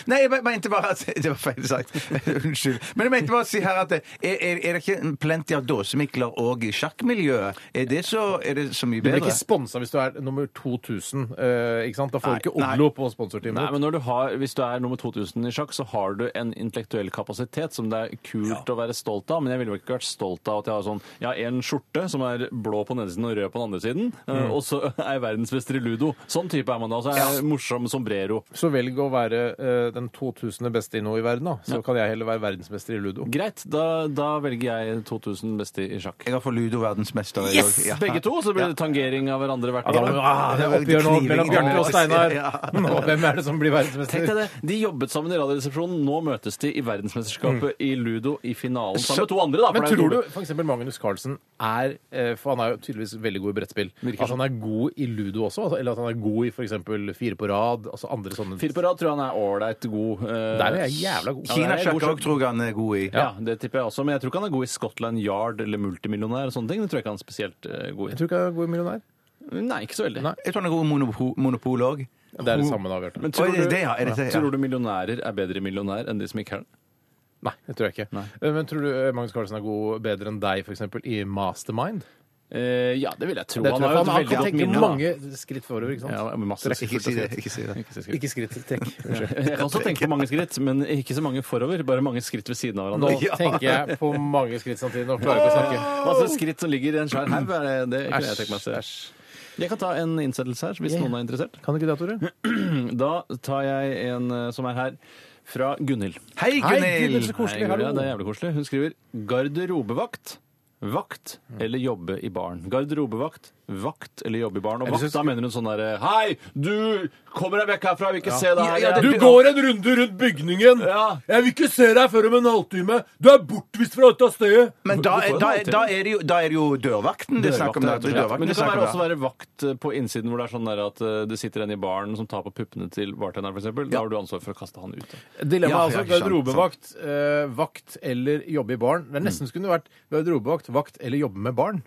Nei, jeg me- mente bare at [LAUGHS] Det var feil sagt. Unnskyld. Men jeg mente bare å si her at det- er, er, er det ikke en plenty av dåsemikler òg i sjakkmiljøet? Er det så, er det så mye Du blir bedre? ikke sponsa hvis du er nummer 2000, eh, ikke sant? Da får du ikke nei. Odlo på sponsorteamet. Nei, men når du har, Hvis du er nummer 2000 i sjakk, så har du en intellektuell kapasitet som det er kult å være stolt av. Men jeg ville vel ikke vært stolt av at jeg har sånn Jeg har en skjorte som er blå på den ene siden og rød på den andre siden, eh, Mm. og så [LAUGHS] er jeg verdensmester i ludo. Sånn type er man da. Så er jeg morsom sombrero. Så velg å være eh, den 2000. beste i nå i verden, da. Så kan jeg heller være verdensmester i ludo. Greit, da, da velger jeg 2000 beste i sjakk. Jeg har for ludo-verdensmester. jeg Yes! også. Ja. Begge to, så blir det tangering av hverandre hvert Ja, år. men, ah, det er oppgjør nå mellom Bjarte og [LAUGHS] Steinar. Nå, hvem er det som blir Tenk deg verdensmester? det. De jobbet sammen i Radioresepsjonen. Nå møtes de i verdensmesterskapet i ludo i finalen sammen Så- med to andre. da. for Mm. Men det er jo tror du to- f.eks. Magnus Carlsen er eh, For han er jo tydeligvis veldig god i brettspill. Virker At han er god i ludo også? altså, Eller at han er god i f.eks. fire på rad? Altså andre sånne Fire på rad tror jeg han er ålreit god. eh, Der er jeg jævla god. Ja, det er Kinasjakk god òg tror jeg han er god i. Ja, det tipper jeg også. Men jeg tror ikke han er god i Scotland Yard eller multimillionær. og sånne ting. Det tror jeg ikke han er spesielt eh, god Jeg i. tror ikke han er god i millionær. Nei, ikke så veldig. Nei. Jeg tror han er god i monopo- monopol òg. Det er det samme, da, Bjarte. Men tror, Oi, det er du, det, ja, er det det, ja. tror du millionærer er bedre millionær enn de som ikke er det? Nei, det tror jeg ikke. Eh, Men tror du eh, Magnus Carlsen er god bedre enn deg, f.eks. i Mastermind? Eh, ja, det vil jeg tro. Det tror jeg, jo han, han veldig kan godt tenke minne, da. mange skritt forover, ikke sant? Ja, men masse Ikke si det. ikke si det. Ikke skritt, trekk. Unnskyld. Jeg kan også tenke på mange skritt, men ikke så mange forover. Bare mange skritt ved siden av [LAUGHS] Nå hverandre. tenker jeg på mange skritt samtidig. Nå klarer jeg ikke å snakke. Masse skritt som ligger i en svær haug. er det- Det kunne jeg tenke meg å se. Æsj. Jeg kan ta en innsettelse her, hvis noen er interessert. Kan du ikke det, Tore? Da tar jeg en eh, som er her, fra Gunhild. Hei, Gunhild, Gunhild! så koselig. Hei, Julia, hallo. det er jævlig koselig. Hun skriver garderobevakt. Vakt eller jobbe i baren. Garderobevakt, vakt eller jobbe i baren. Og Eller vakt, så da mener hun sånn derre Hei, du! Kommer deg vekk herfra, jeg vil ikke se deg her. Ja, ja, jeg- Du går en runde rundt bygningen. Ja. Jeg vil ikke se deg før om en halvtime. Du er bortvist fra dette stedet. Men da er, da, er, da, er det jo, da er det jo dørvakten det er snakk om. da. Dørvakt, rett og Det er slett. dørvakten Men det du er kan snakk være, om, også da. være vakt eh, på innsiden hvor det er sånn der at eh, det sitter en i baren som tar på puppene til bartenderen f.eks. Da har du ansvar for å kaste han ut. Dilemma Ja, er altså ja, ikke sant, garderobevakt, eh, vakt eller jobbe i baren. Det er nesten skulle det vært garderobevakt, vakt eller jobbe med barn.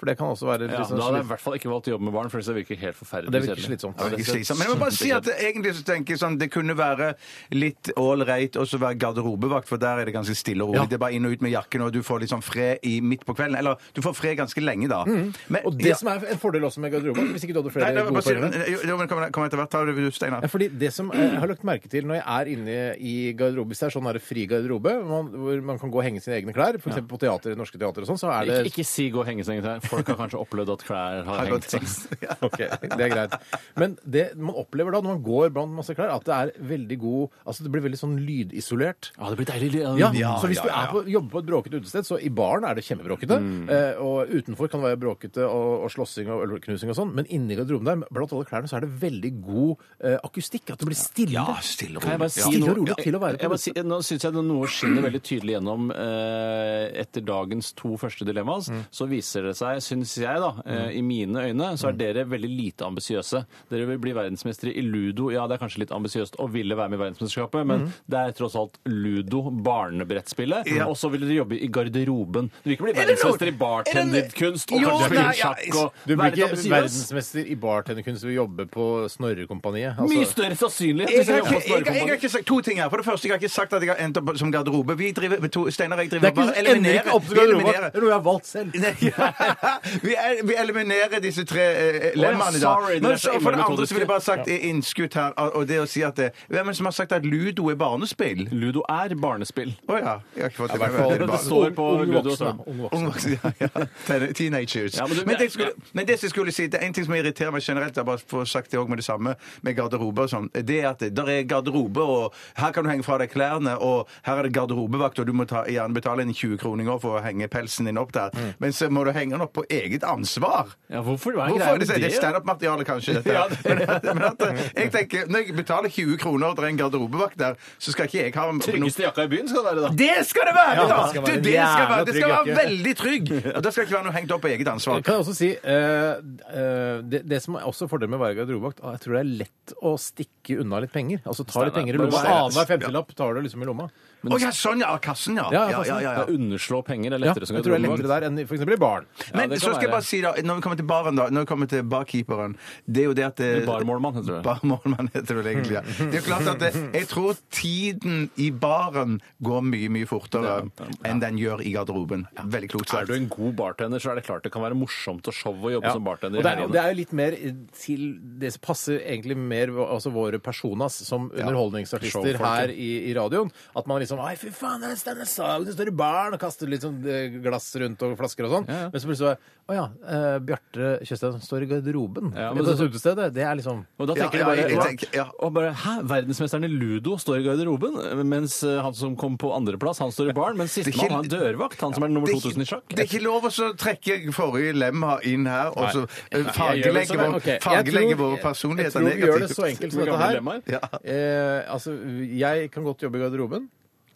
For det kan også være litt Ja, sånn da hadde jeg i slitt- hvert fall ikke valgt å jobbe med barn, for det virker helt forferdelig. Det virker slitsomt. Ja, det er ikke slitsomt. Men jeg må bare si at egentlig så tenker jeg sånn, det kunne være litt ålreit å være garderobevakt, for der er det ganske stille og rolig. Ja. Det er bare inn og ut med jakken, og du får litt sånn fred i, midt på kvelden. Eller du får fred ganske lenge, da. Mm. Men, Og det som er en fordel også med garderobevakt, hvis ikke du hadde Nei, flere nei, gode bare si poenger jo, jo, men Kom kom etter hvert. Ta det du, Steinar. Ja, fordi Det som jeg har lagt merke til når jeg er inne i garderobe, hvis det er sånn der fri garderobe, man, hvor man kan gå og henge sine egne klær, f.eks. eksempel på teater, norske teater og sånn, så er det Ikke, ikke si 'gå og henge seg'. Folk har kanskje opplevd at klær har, Har hengt gått seg. [LAUGHS] ja. Ok, det er greit. Men det man opplever da, når man går blant masse klær, at det er veldig god Altså, det blir veldig sånn lydisolert. Ja, det blir deilig. Ja, Ja, ja. så hvis du ja, ja. Mm. er på, jobber på et bråkete utested, så i baren er det kjempebråkete. Eh, og utenfor kan det være bråkete og, og slåssing og ølknusing og sånn, men inni garderoben der, blant alle klærne, så er det veldig god eh, akustikk. At det blir stille. stille og Kan jeg bare si Stille noe? og rolig til å være på Jeg bare si, nå syns jeg noe skinner veldig tydelig gjennom eh, etter dagens to første dilemmaer. Mm. Så viser det seg, syns jeg, da, eh, i mine øyne, Mm. så er dere veldig lite ambisiøse. Dere vil bli verdensmestere i ludo. Ja, det er kanskje litt ambisiøst å ville være med i verdensmesterskapet, men Mm. det er tross alt ludo, barnebrettspillet, og så vil dere jobbe i garderoben. Du vil ikke bli verdensmester i bartenderkunst og Jo, kanskje nei, spille ja, sjakk og Du blir være litt ikke ambisiøs. altså- verdensmester i bartenderkunst ved å jobbe på Snorrekompaniet. Altså- Mye større sannsynlighet Jeg hvis har, dere jobber på ikke, jeg, har- jeg har Snorrekompaniet. ikke sagt to ting her. For det første, jeg har ikke sagt at jeg har endt opp som garderobe. Vi driver, to, Steinar og jeg driver Det er sånn, ikke, bare ender ikke opp til Vi garderoben. eliminerer. Det er noe jeg har valgt selv. Nei, [LAUGHS] vi, el- vi eliminerer disse tre eh, Å, ja, lemmene i dag. sorry, det Men er så så- For det andre immelmetodiske. så vil jeg bare ha sagt eh, innskudd her, og og det å si at eh, Hvem er det som har sagt at ludo er barnespill? Ludo er barnespill. Å ja. Jeg har ikke fått Ja, i det hvert med fall. meg. Det er Det bare- står på Ung- ung Ludo altså. voksne, Storm. ung voksne. Ung voksen, [LAUGHS] ja, ja. Ten- Teenagers. Ja, men men, du- det jeg skulle, men det som jeg skulle si, det er en ting som irriterer meg generelt, jeg har bare får sagt det også med det samme, med garderobe og sånn, det er at der er garderobe, og her kan du henge fra deg klærne, og her er det garderobevakt, og du må ta, gjerne betale en 20 kroninger for å henge pelsen din opp der, men så må du henge den opp på eget ansvar. Mm. Ja, hvorfor? Hva er Hvorfor greia er det, med det er det? standup-materiale, kanskje? [LAUGHS] Dette. her. men, at, men at eh, jeg tenker, Når jeg betaler 20 kroner og det er en garderobevakt der, så skal ikke jeg ha noe Tryggeste jakka i byen skal det være, da. det skal det være! Ja, da! det skal være Du, det skal jævla være, det trygg skal være jakke. veldig trygg! [LAUGHS] Og Det skal ikke være noe hengt opp på eget ansvar. Jeg kan også si eh, eh, det, det som er også fordelen med å være garderobevakt, ah, jeg tror det er lett å stikke unna litt penger. Altså ta litt Steinar, penger i bare lomma. Steinar. Annenhver femtelapp tar du liksom i lomma. Å ja, sånn ja! Kassen, ja. Ja, ja, kassen. ja, ja, Ja. ja. Underslå penger er Ja, lettere jeg som tror det er lettere der enn i- for eksempel i baren. Men det kan så skal jeg være. bare si da, når vi kommer til baren, da Når vi kommer til barkeeperen Det er jo det at det- Barmålmann, heter det. Barmålmann heter det vel egentlig, ja. Det er jo klart at det, jeg tror tiden i baren går mye, mye fortere enn den gjør i garderoben. Veldig klokt Er sagt. du en god bartender, så er det klart det kan være morsomt og show å jobbe Ja. som bartender. Og det, er, i og det er jo litt mer til Det som passer egentlig mer hva- altså våre personas som underholdningsartister Showfolket. her i, i radioen. At man liksom Ei, fy faen, det er Steinar Sagen som står i baren og kaster litt sånn eh, glass rundt og flasker og sånn. Ja, ja. Men så plutselig så Å ja, eh, Bjarte Tjøstheim står i garderoben. Ja, men men det, så- utestedet, det er liksom Og da tenker jeg Ja, ja, bare, jeg tenker- ja. og bare Hæ, verdensmesteren i ludo står i garderoben, mens eh, han som kom på andreplass, han står i baren. Men Det er sistemann, ikke- han dørvakt, han som er nummer Det er ikke- 2000 i sjakk. Det er ikke lov å så trekke forrige lemma inn her og så eh, fargelegge gjør vår, vel sånn, ok. Jeg fargelegge tror- vår personlighet Jeg tror vi gjør det så enkelt som Med dette gamle her. lemmaer. Ja. Eh, altså, jeg kan godt jobbe i garderoben.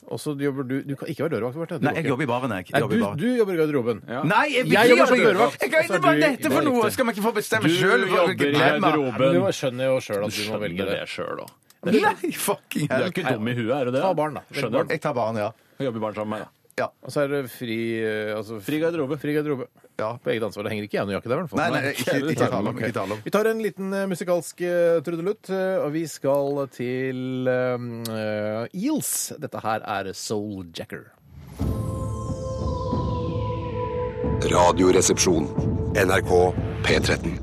Og så jobber du Du kan ikke være dørvakt. Bjarte. Du Nei, går jeg ikke. jobber i baren, jeg. jeg. Nei, jobber i baren. du, du jobber i garderoben. Nei, jeg, Jeg vil jobber jobber i som dørvakt. Jeg kan Altså, Så er ikke bare du- dette for det er noe! riktig. Skal man ikke få bestemme Du sjøl? jobber i garderoben. Men du skjønner jo sjøl at du må velge Skjønner det. det sjøl òg. Nei, fucking Du er hell. ikke dum i huet, er du det? Ta barn, da. Skjønner du? Jeg tar baren, ja. Jobber i baren sammen med meg, da. Og så er det fri eh, altså, Fri garderobe. Fri garderobe. Ja. På eget ansvar. Det henger ikke jeg noen jakke der, i hvert fall. Nei, nei, ikke, ikke tale om. Ok. Ikke tale om. Vi tar en liten eh, musikalsk eh, trudelutt, eh, og vi skal til eh, Eels. Dette her er Soul Jacker. Radioresepsjon. NRK P13.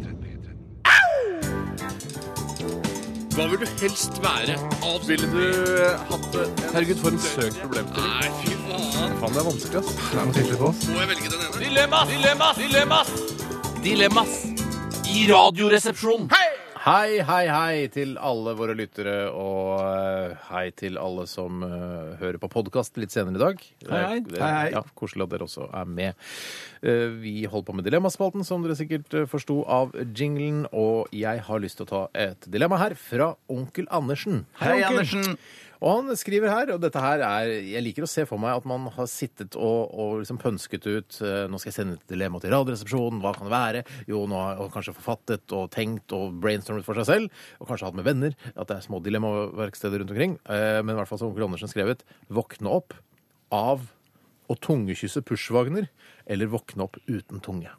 Hei, hei, hei til alle våre lyttere, og eh, hei til alle som eh, hører på podkast litt senere i dag. Det er- Hei, hei. det er- Hei, hei. Ja, koselig at dere også er med. Eh, Vi holder på med Dilemmaspalten, som dere sikkert eh, forsto av jinglen, og jeg har lyst til å ta et dilemma her fra onkel Andersen. Hei, onkel. Andersen. Og han skriver her, og dette her er Jeg liker å se for meg at man har sittet og, og liksom pønsket ut eh, Nå skal jeg sende et dilemma til Radioresepsjonen, hva kan det være? Jo, nå har jeg kanskje forfattet og tenkt og brainstormet for seg selv, og kanskje hatt med venner, at det er små dilemmaverksteder rundt omkring. Eh, Men i hvert fall som onkel Andersen skrevet, våkne opp av å tungekysse Pushwagner, eller våkne opp uten tunge.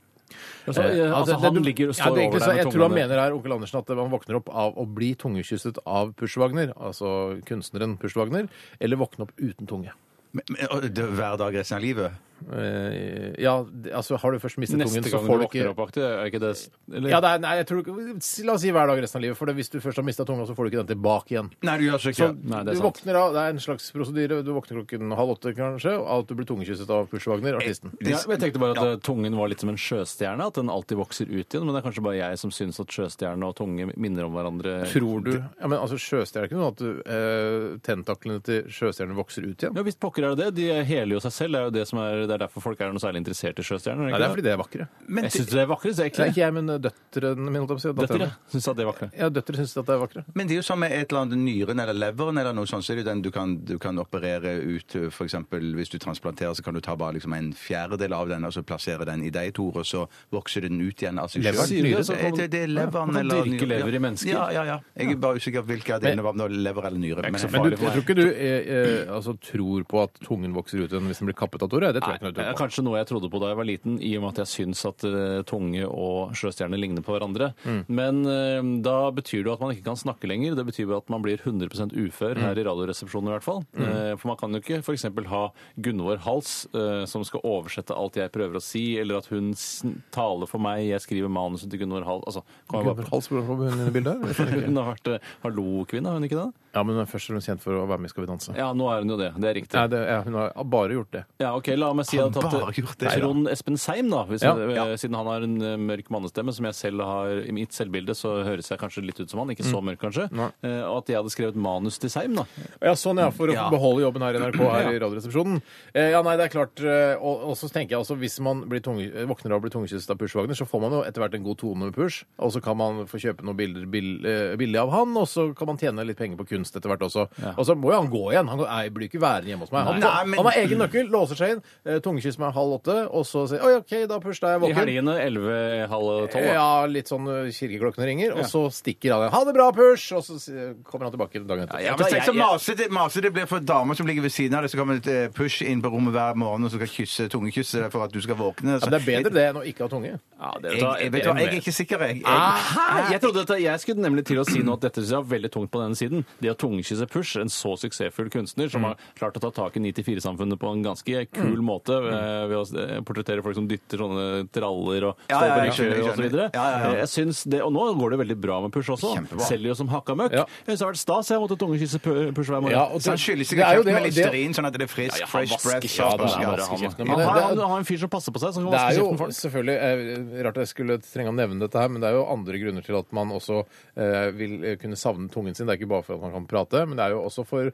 Altså, Eh, eh, altså, det- han du- ligger og Ja, står det er egentlig over så- deg Jeg med tror han tunga. mener her, onkel Andersen, at man våkner opp av å bli tungekysset av Pushwagner, altså kunstneren Pushwagner, eller våkne opp uten tunge. Men- men- og det- Hver dag resten av livet? Eh, Ja, det- altså har du først mistet Neste tungen, så gang får du du våkner ikke opp aktig, er ikke det eller? ja, det er, nei, jeg tror, ikke- La oss si hver dag resten av livet. For det, hvis du først har mista tunga, så får du ikke den tilbake igjen. Nei, du gjør Så så ikke det. Nei, det er du sant. våkner av, Det er en slags prosedyre. Du våkner klokken halv åtte, kanskje, og at du blir tungekysset av Push Wagner, artisten. Ja, men jeg tenkte bare at eh, tungen var litt som en sjøstjerne, at den alltid vokser ut igjen. Men det er kanskje bare jeg som syns at sjøstjerne og tunge minner om hverandre. Tror du Ja, men altså, sjøstjerne er ikke noe at du, eh, tentaklene til sjøstjernen vokser ut igjen? Ja visst pokker er det det. De heler jo seg selv. Det er jo det som er, det er derfor folk er noe særlig interessert i sjøstjerner. Nei, det er fordi det er vakre. Men Jeg syns det er vakrest, det er Det er ikke det. ikke jeg, men eh, døtrene mine. holdt jeg på å si, Dette, datterne. Syns at det er vakkert. Ja, døtre syns at det er vakre. Men det er jo som med et eller annet nyren eller leveren eller noe sånt, så er det jo den du kan, du kan operere ut, for eksempel hvis du transplanterer, så kan du ta bare liksom en fjerdedel av den, og så plassere den i deg, Tor, og så vokser den ut igjen av seg Lever- selv. Sier du det? Så kan- det, det er Man leveren kan eller dyrke lever i mennesker. Ja, ja, ja. Jeg er bare usikker på hvilke av delene var om det var lever eller nyre. ikke så Men farlig du, for meg. jeg tror ikke du eh, eh, altså, tror på at tungen vokser ut igjen hvis den blir kappet av Tore? Det tror jeg ikke noe du Det er tror på. kanskje noe jeg trodde på da jeg var liten, i og med at jeg syns at eh, tunge og sjøstjerne ligner på hverandre. Men eh, da betyr det jo at man ikke kan snakke lenger. Det betyr jo at man blir 100 ufør her i Radioresepsjonen i hvert fall. Eh, For man kan jo ikke f.eks. ha Gunvor Hals eh, som skal oversette alt jeg prøver å si, eller at hun sn- taler for meg, jeg skriver manuset til Gunvor Hals Altså, kan jeg Gunvor bare... Hals, hvor hvor hun i bildet? her? [LAUGHS] Hun har vært eh, hallo-kvinne, har hun ikke det? Ja, men hun er først og fremst kjent for å være med i Skal vi danse. Ja, nå er hun jo det. Det er riktig. Nei, det, ja, hun har bare gjort det. Ja, ok, La meg si at, Han at bare gjort det, ja. Trond Espen Seim, da, hvis Ja. eh, siden han har en eh, mørk mannestemme, som jeg selv har i mitt selvbilde, så høres jeg kanskje litt ut som han. Ikke Mm. så mørk, kanskje. Eh, Og at jeg hadde skrevet manus til Seim, da. Ja, sånn ja, for å Ja. beholde jobben her i NRK her i Radioresepsjonen. Eh, ja, nei, det er klart, eh, og, og så tenker jeg også, hvis man blir tunge, eh, våkner av å bli tungekysset av Push Wagner, så får man jo etter hvert en god tone med Push, og så kan man få kjøpe noen bilder bill- eh, billig av han, og så kan man tjene litt penger på kunst etter hvert også. Og så må jo han gå igjen, han går- nei, blir jo ikke værende hjemme hos meg. Han, Nei, går- men- han har egen nøkkel, låser seg inn, eh, tungekyss meg halv åtte, og så sier, oi, ok, da Push, da er jeg I våken. helgene 11, halv tolv. da. Ja, litt sånn ø, kirkeklokkene ringer, og så stikker han. Ha det bra, push! Og så ø, kommer han tilbake dagen etter. Ja, men tenk så masete masete det blir for damer som ligger ved siden av deg, så kommer det et eh, push inn på rommet hver morgen og så skal kysse, tungekysse deg for at du skal våkne. Ja, Så- men det er bedre det enn å ikke ha tunge. Ja, det- Jeg, jeg, vet du hva, jeg er ikke sikker, jeg. jeg Hæ? Jeg trodde at jeg skulle nemlig til å si noe at dette synes jeg var veldig tungt på denne siden. Det å tungekysse Push, en så suksessfull kunstner som har klart å ta tak i 9-4-samfunnet på en ganske kul måte eh, ved å eh, portrettere folk som dytter sånne traller og Ja, står ja, på ja, rikskjø og skjønner, så skjønner. videre. Ja, ja, ja. Eh, Jeg synes det, og nå går det veldig bra med Push også. Kjempebra. Selger jo som hakka møkk. Ja. Jeg synes det har vært stas, jeg måtte tungekysse Pu- Push hver morgen. Ja, og så han skyller Det er sikkert jo kjøpt det- med det- listerin, sånn at det er Ja, frisk, ja, han fresh breath. vasker kjeften, fresh han breath. vasker kjeften. Men Han det- har det- han har en fyr som passer på seg, som kan Det er vaske jo kjeften for folk. selvfølgelig ø, Rart at jeg skulle trenge å nevne dette her, men det er jo andre grunner til at man også ø, vil ø, kunne savne tungen sin. Det er ikke bare for at man kan prate, men det er jo også for ø,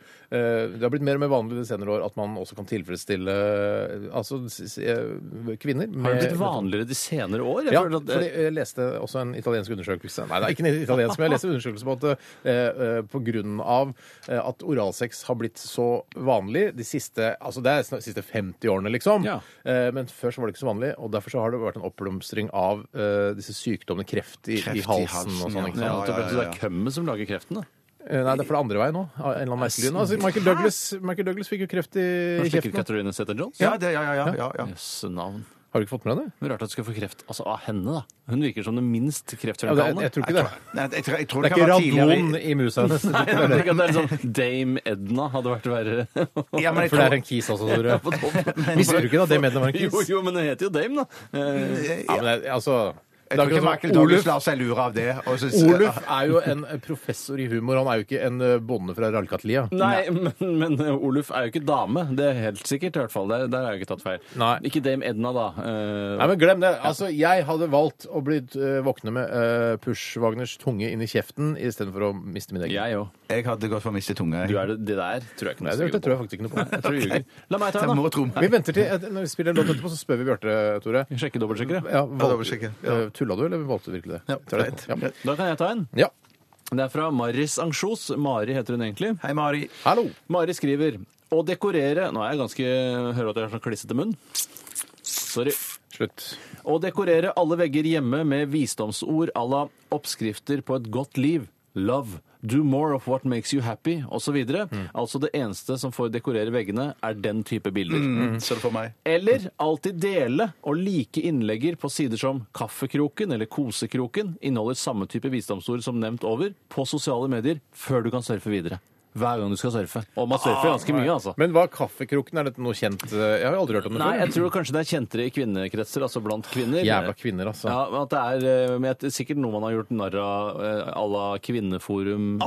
Det har blitt mer og mer vanlig de senere år at man også kan tilfredsstille ø, altså s- s- ø, kvinner. Har det med- blitt vanligere de senere år? Jeg Ja, føler at- eh, fordi jeg leste også en italiensk undersøkelse. Nei, det er ikke en italiensk, men jeg leste en undersøkelse på at eh, eh, på grunn av eh, at oralsex har blitt så vanlig de siste, altså det er snak- de siste 50 årene, liksom. Ja. Eh, men før så var det ikke så vanlig, og derfor så har det vært en oppblomstring av eh, disse sykdommene, kreft i, Kreft i, halsen, og sånn. ikke sant? Ja, Ja, at det ja, det ja, er ja. kømmet som lager kreften, da. Eh, Nei, det er for det andre veien nå. av En eller annen merkelig grunn. Altså, Michael, Douglas, Michael Douglas fikk jo kreft i Kanskje i ikke kjeften. Katarina Zetter-Jones? Ja, det, ja, ja, ja, ja, ja. Jøsse navn. Har du ikke fått med deg det? Men Rart at du skal få kreft altså, av henne. da. Hun virker som den minst Ja, det jeg, kreftfremkallende. jeg [LAUGHS] tror ikke det. Nei, jeg, tror- jeg Det tror er det, kan ikke være radon tidligere. i musa hennes. [LAUGHS] Nei, jeg tenker at det er sånn Dame Edna hadde vært verre. [LAUGHS] Ja, men jeg For det er tror, en kis også, Tore. På [LAUGHS] toppen. Visste du ikke da det medlemmet var en jo, kis? jo, men hun heter jo Dame, da. Eh, Ja, men det, er- altså jeg det er tror ikke akkurat Michael som Douglas Oluf, lar seg lure av det. og så- Oluf er jo en professor i humor. Han er jo ikke en eh, bonde fra Rallkatlia. Nei, men, men eh, Oluf er jo ikke dame. Det er helt sikkert, i hvert fall. Der, der har jeg ikke tatt feil. Nei. Ikke Dame Edna, da. Eh, Nei, men Glem det. Altså, Jeg hadde valgt å bli eh, våkne med eh, Push-Wagners tunge inn i kjeften istedenfor å miste min egen. jeg òg. Jeg hadde gått for å miste tunga. Du jeg. er det, det der tror jeg ikke noe Nei, det, det sikkert tror jeg faktisk ikke noe på. [LAUGHS] Jeg tror du ljuger. La meg ta Jeg en, da. må tro meg. Vi venter til eh, når vi spiller en låt etterpå, så spør vi Bjarte, Tore. Sjekke dobbeltsjekkere. Ja, valg, dobbeltsjekke, eh, tulla du, eller valgte du virkelig det? Ja, Tror jeg det. greit. Da kan jeg ta en. Ja. ja. Det er fra Maris Ansjos. Mari heter hun egentlig. Hei, Mari. Hallo. Mari skriver å dekorere Nå er jeg ganske Hører at jeg har sånn klissete munn. Sorry. Slutt. Å dekorere alle vegger hjemme med visdomsord à la oppskrifter på et godt liv. Love. Do more of what makes you happy, osv. Altså det eneste som får dekorere veggene, er den type bilder. Så det for meg. Eller alltid dele og like innlegger på sider som Kaffekroken eller Kosekroken inneholder samme type visdomsord som nevnt over på sosiale medier før du kan surfe videre. hver gang du skal surfe. Og man surfer ganske mye, altså. Men hva kaffekroken? Er dette noe kjent? Eh, Jeg har jo aldri hørt om det Nei, jeg før. tror kanskje det er kjentere i kvinnekretser, altså blant kvinner. Jævla kvinner, altså. Ja, men at det er eh, men det er sikkert noe man har gjort narr av eh, à la Kvinneforum.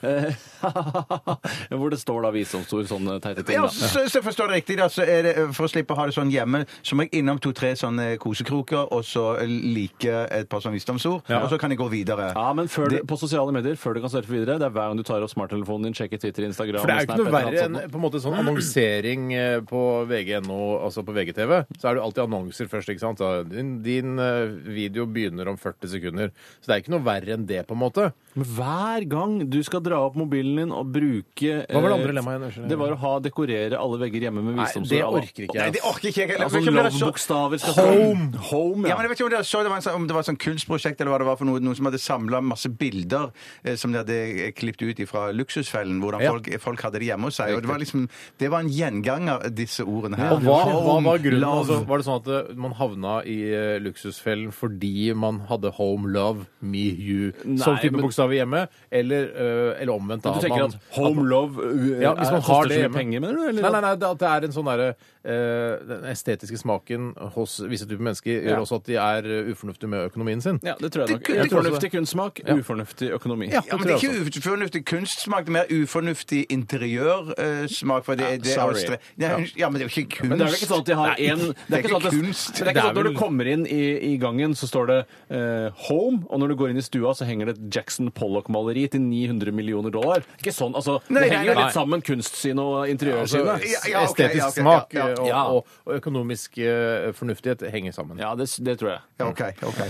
Eh, [LAUGHS] Hvor det står da visdomsord, sånne teite ting. Ja, Da. så, så forstår det riktig, da, så er det, for å slippe å ha det sånn hjemme, så må jeg innom to-tre sånne kosekroker, og så like et par sånne visdomsord, og så kan jeg gå videre. Ja, men før, du- på sosiale medier, før du kan surfe videre, det er hver gang du tar opp smarttelefonen din, sjekker Twitter, Instagram For det er jo Snap, ikke noe et eller annet verre enn sånt. på en måte sånn annonsering eh, på VG.no, altså på VGTV. Så er det jo alltid annonser først, ikke sant. Da, Din, din eh, video begynner om 40 sekunder. Så det er ikke noe verre enn det, på en måte. Men hver gang du skal dra opp mobilen din og bruke Hva var det eh, andre lemmaet igjen? Unnskyld. Det var å ha, dekorere alle vegger hjemme med Nei, det visdomsord. orker ikke Nei, jeg. det orker ikke jeg. heller. Altså Jeg vet ikke om dere så- love-bokstaver skal Home! Home, Ja, ja. men jeg vet ikke om dere så det var en, sånn- om det var et sånt kunstprosjekt eller hva det var for noe, noen som hadde samla masse bilder eh, som de hadde klippet ut fra Luksusfellen, hvordan Ja. folk, eh, folk hadde det hjemme hos seg. Og det var liksom Det var en gjenganger, disse ordene her. Og hva, hva Home, var grunnen? love. Altså, var det sånn at eh, man havna i eh, luksusfellen fordi man hadde home, love, me, you som Nei, type men- bokstav i hjemmet? Eller, eh, eller omvendt, da. Du tenker man- at home love uh, ja, hvis man har det hjemme. penger, mener du? Eller? Nei, nei, nei, det- at det er en sånn derre eh, Den estetiske smaken hos visse typer mennesker gjør Ja. også at de er eh, ufornuftige med økonomien sin. Ja, det tror jeg nok. Det- det- Fornuftig kunstsmak, ufornuftig økonomi. Ja, men det er ikke ufornuftig kunstsmak, det er mer ufornuftig interiørsmak. eh, For det, er- det er sorry. å stre- Nei, unnskyld, ja, men det er jo ikke kunst. Men det er vel ikke sånn at de har Nei, en Det er ikke sånn at det- kunst. Det er ikke sånn at når du kommer inn i, i gangen, så står det eh, 'Home', og når du går inn i stua, så henger det et Jackson Pollock-maleri til 900 millioner dollar. Ikke sånn, altså. Nei, det nei, henger jo nei. litt sammen, kunstsynet og Altså, interiørsynet. Ja, ja, ok, estetisk ja, ok, ja, smak ja. eh, og- Ja. Og, og økonomisk eh, fornuftighet henger sammen. Ja, det, det tror jeg. Ja, OK. ok.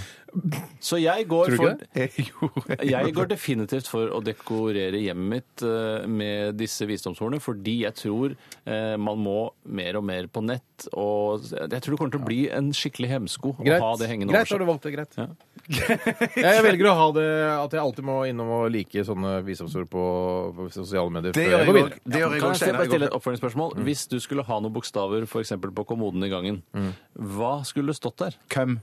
Så jeg går Tror du ikke for det? Eh, [LAUGHS] Jo. Jeg går definitivt for å dekorere hjemmet mitt eh, med disse visdomshordene, fordi jeg tror eh, man må mer og mer på nett. Og jeg tror det kommer til å bli en skikkelig hemsko å ha det hengende greit har over du seg. valgt det. [LAUGHS] Greit. jeg, jeg velger å ha det at jeg alltid må innom og like sånne visdomsord på, på sosiale medier. Det før gjør jeg går jeg òg. videre. Det Mm. gjør jeg Kan òg jeg se- senere. bare i går. stille et oppfølgingsspørsmål? Hvis du skulle ha noen bokstaver for eksempel på kommoden i gangen, Mm. hva skulle stått der? Køm.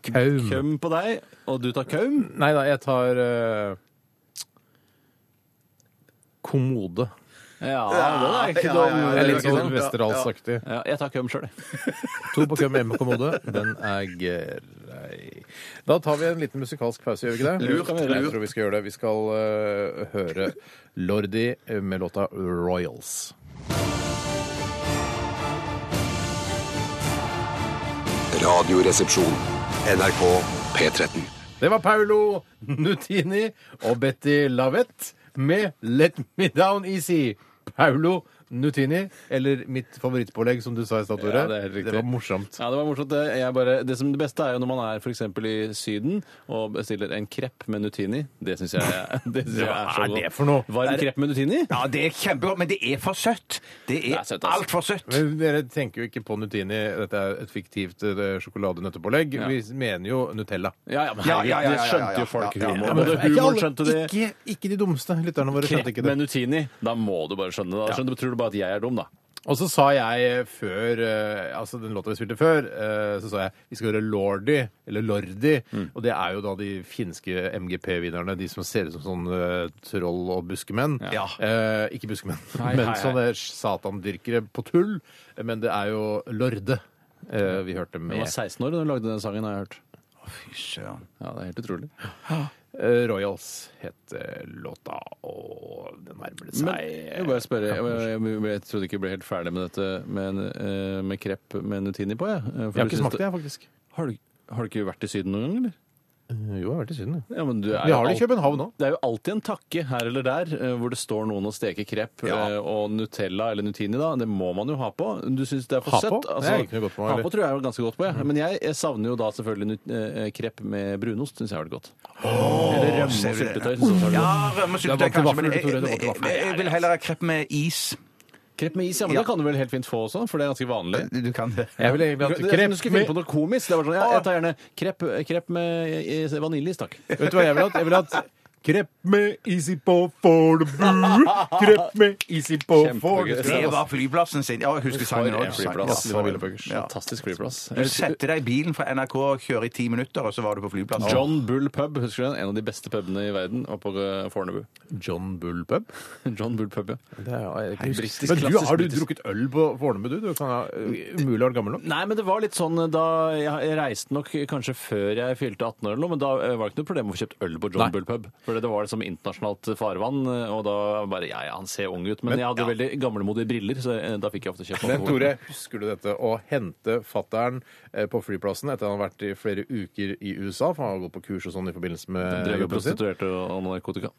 Kaum. Køm på deg, og du tar kaum? Nei da, jeg tar eh, kommode. Ja, det er ikke ja, dum. ja, ja. Det er ikke litt sånn sant? Westerdals-aktig. Ja, jeg tar køm sjøl, jeg. To på køm, én på kommode. Den er grei. Da tar vi en liten musikalsk pause, gjør vi ikke det? Lurt, Jeg tror vi skal gjøre det. Vi skal eh, høre Lordi eh, med låta Royals. Radioresepsjon. NRK P13. Det var Paolo Nutini og Betty Lavette med Let Me Down Easy. Paolo Nutini, eller mitt favorittpålegg, som du sa i stad, Tore. Ja, det er helt riktig. var morsomt. Ja, det var morsomt. det. Jeg bare, det, som det beste er jo når man er for eksempel i Syden og bestiller en krepp med nutini. Det syns jeg, det synes jeg er [LAUGHS] så Hva er godt. det for noe? Varm krepp med nutini? Ja, det er kjempegodt, men det er for søtt. Det Det er er søtt, altså. altfor søtt. Men dere tenker jo ikke på Nutini. Dette er et fiktivt eh, sjokoladenøttepålegg. Ja. Vi mener jo Nutella. Ja, ja, men Ja, ja, ja, ja, det ja, ja, skjønte ja. jo folk Ja, ja, humor. ja, Både Er ikke humor alle- skjønte det. Ikke, ikke de dummeste lytterne våre skjønte Krepp ikke det. med nutini. Da må du bare skjønne det. Da skjønner, du- tror du bare at jeg er dum, da. Og så sa jeg før eh, Altså den låta vi spilte før, eh, så sa jeg vi skal høre Lordi, eller Lordi. Mm. Og det er jo da de finske MGP-vinnerne, de som ser ut som sånn eh, troll og buskemenn. Ja. Eh, ikke buskemenn, [LAUGHS] Nei, men nei, nei. sånne satandyrkere på tull. Men det er jo Lorde eh, vi hørte Jeg var med. 16 år da du lagde den sangen, har jeg hørt. Fy søren. Ja, det er helt utrolig. Eh, Royals het eh, låta, og den nærmer det seg Men jeg vil bare spørre, jeg, jeg, jeg, jeg trodde ikke jeg ble helt ferdig med dette med, en, eh, med krepp med nutini på, jeg. Eh, for Jeg har du ikke synes smakt det, jeg, faktisk. Har du, har du ikke vært i Syden noen gang, eller? Jo, jeg har vært i Syden, jeg. Ja, men du er Vi jo har det i alt- København òg. Det er jo alltid en takke her eller der eh, hvor det står noen og steker krepp eh, og Nutella eller Nutini, da. Det må man jo ha på. Du syns det er for Ha søtt? Altså, på? Det er ikke noe godt for meg, ha eller? Mm. på tror jeg er ganske godt på, jeg. Men jeg, jeg savner jo da selvfølgelig nut, eh, krepp med brunost. Syns jeg var det godt. eller rømme og ser du det? syltetøy. Synes jeg var det Ja, godt. rømme og Det er syltetøy vant til kanskje, men vafler, jeg, Tore, det er jeg, vant til vafler. jeg vil heller ha krepp med is. Krepp med is, ja. Men Ja. det kan du vel helt fint få også, for det er ganske vanlig. Du kan det. Eh, Jeg vil egentlig Du, hatt krepp Ah. skulle finne på noe komisk. Det var sånn, ja, jeg tar gjerne krepp, krepp med eh, vaniljeis, takk. [LAUGHS] Vet du hva jeg ville hatt? Jeg ville hatt Krepp med easy på Fornebu. Krepp med easy på Kjempegøy. Fornebu. Det var flyplassen sin. Ja, jeg husker sangen For en også. flyplass. Lina Ja, for en- Willebøggers. ja. Fantastisk flyplass. Du setter deg i bilen fra NRK, kjører i ti minutter, og så var du på flyplassen. John Bull pub, husker du den? En av de beste pubene i verden, og på eh, Fornebu. John Bull pub. [LAUGHS] John Bull pub, ja. Det er, jeg, Hei, brittisk, men du, klassisk har du britisk. drukket øl på Fornebu, du? Du kan ha eh, umulig vært gammel nok. Nei, men det var litt sånn da Jeg jeg reiste nok kanskje før jeg fylte 18 år eller noe, men da eh, var det ikke noe problem å få kjøpt øl på John Nei. Bull pub. For det var liksom internasjonalt farvann, eh, og da bare Ja, ja, han ser ung ut, men, jeg hadde veldig gamlemodige briller, så eh, da fikk jeg ofte kjøpt Men alkohol. Tore, husker du dette? Å hente fattern eh, på flyplassen etter han har vært i flere uker i USA, for han har gått på kurs og sånn i forbindelse med Eh, Drev med jobben sin. prostituerte og og narkotika.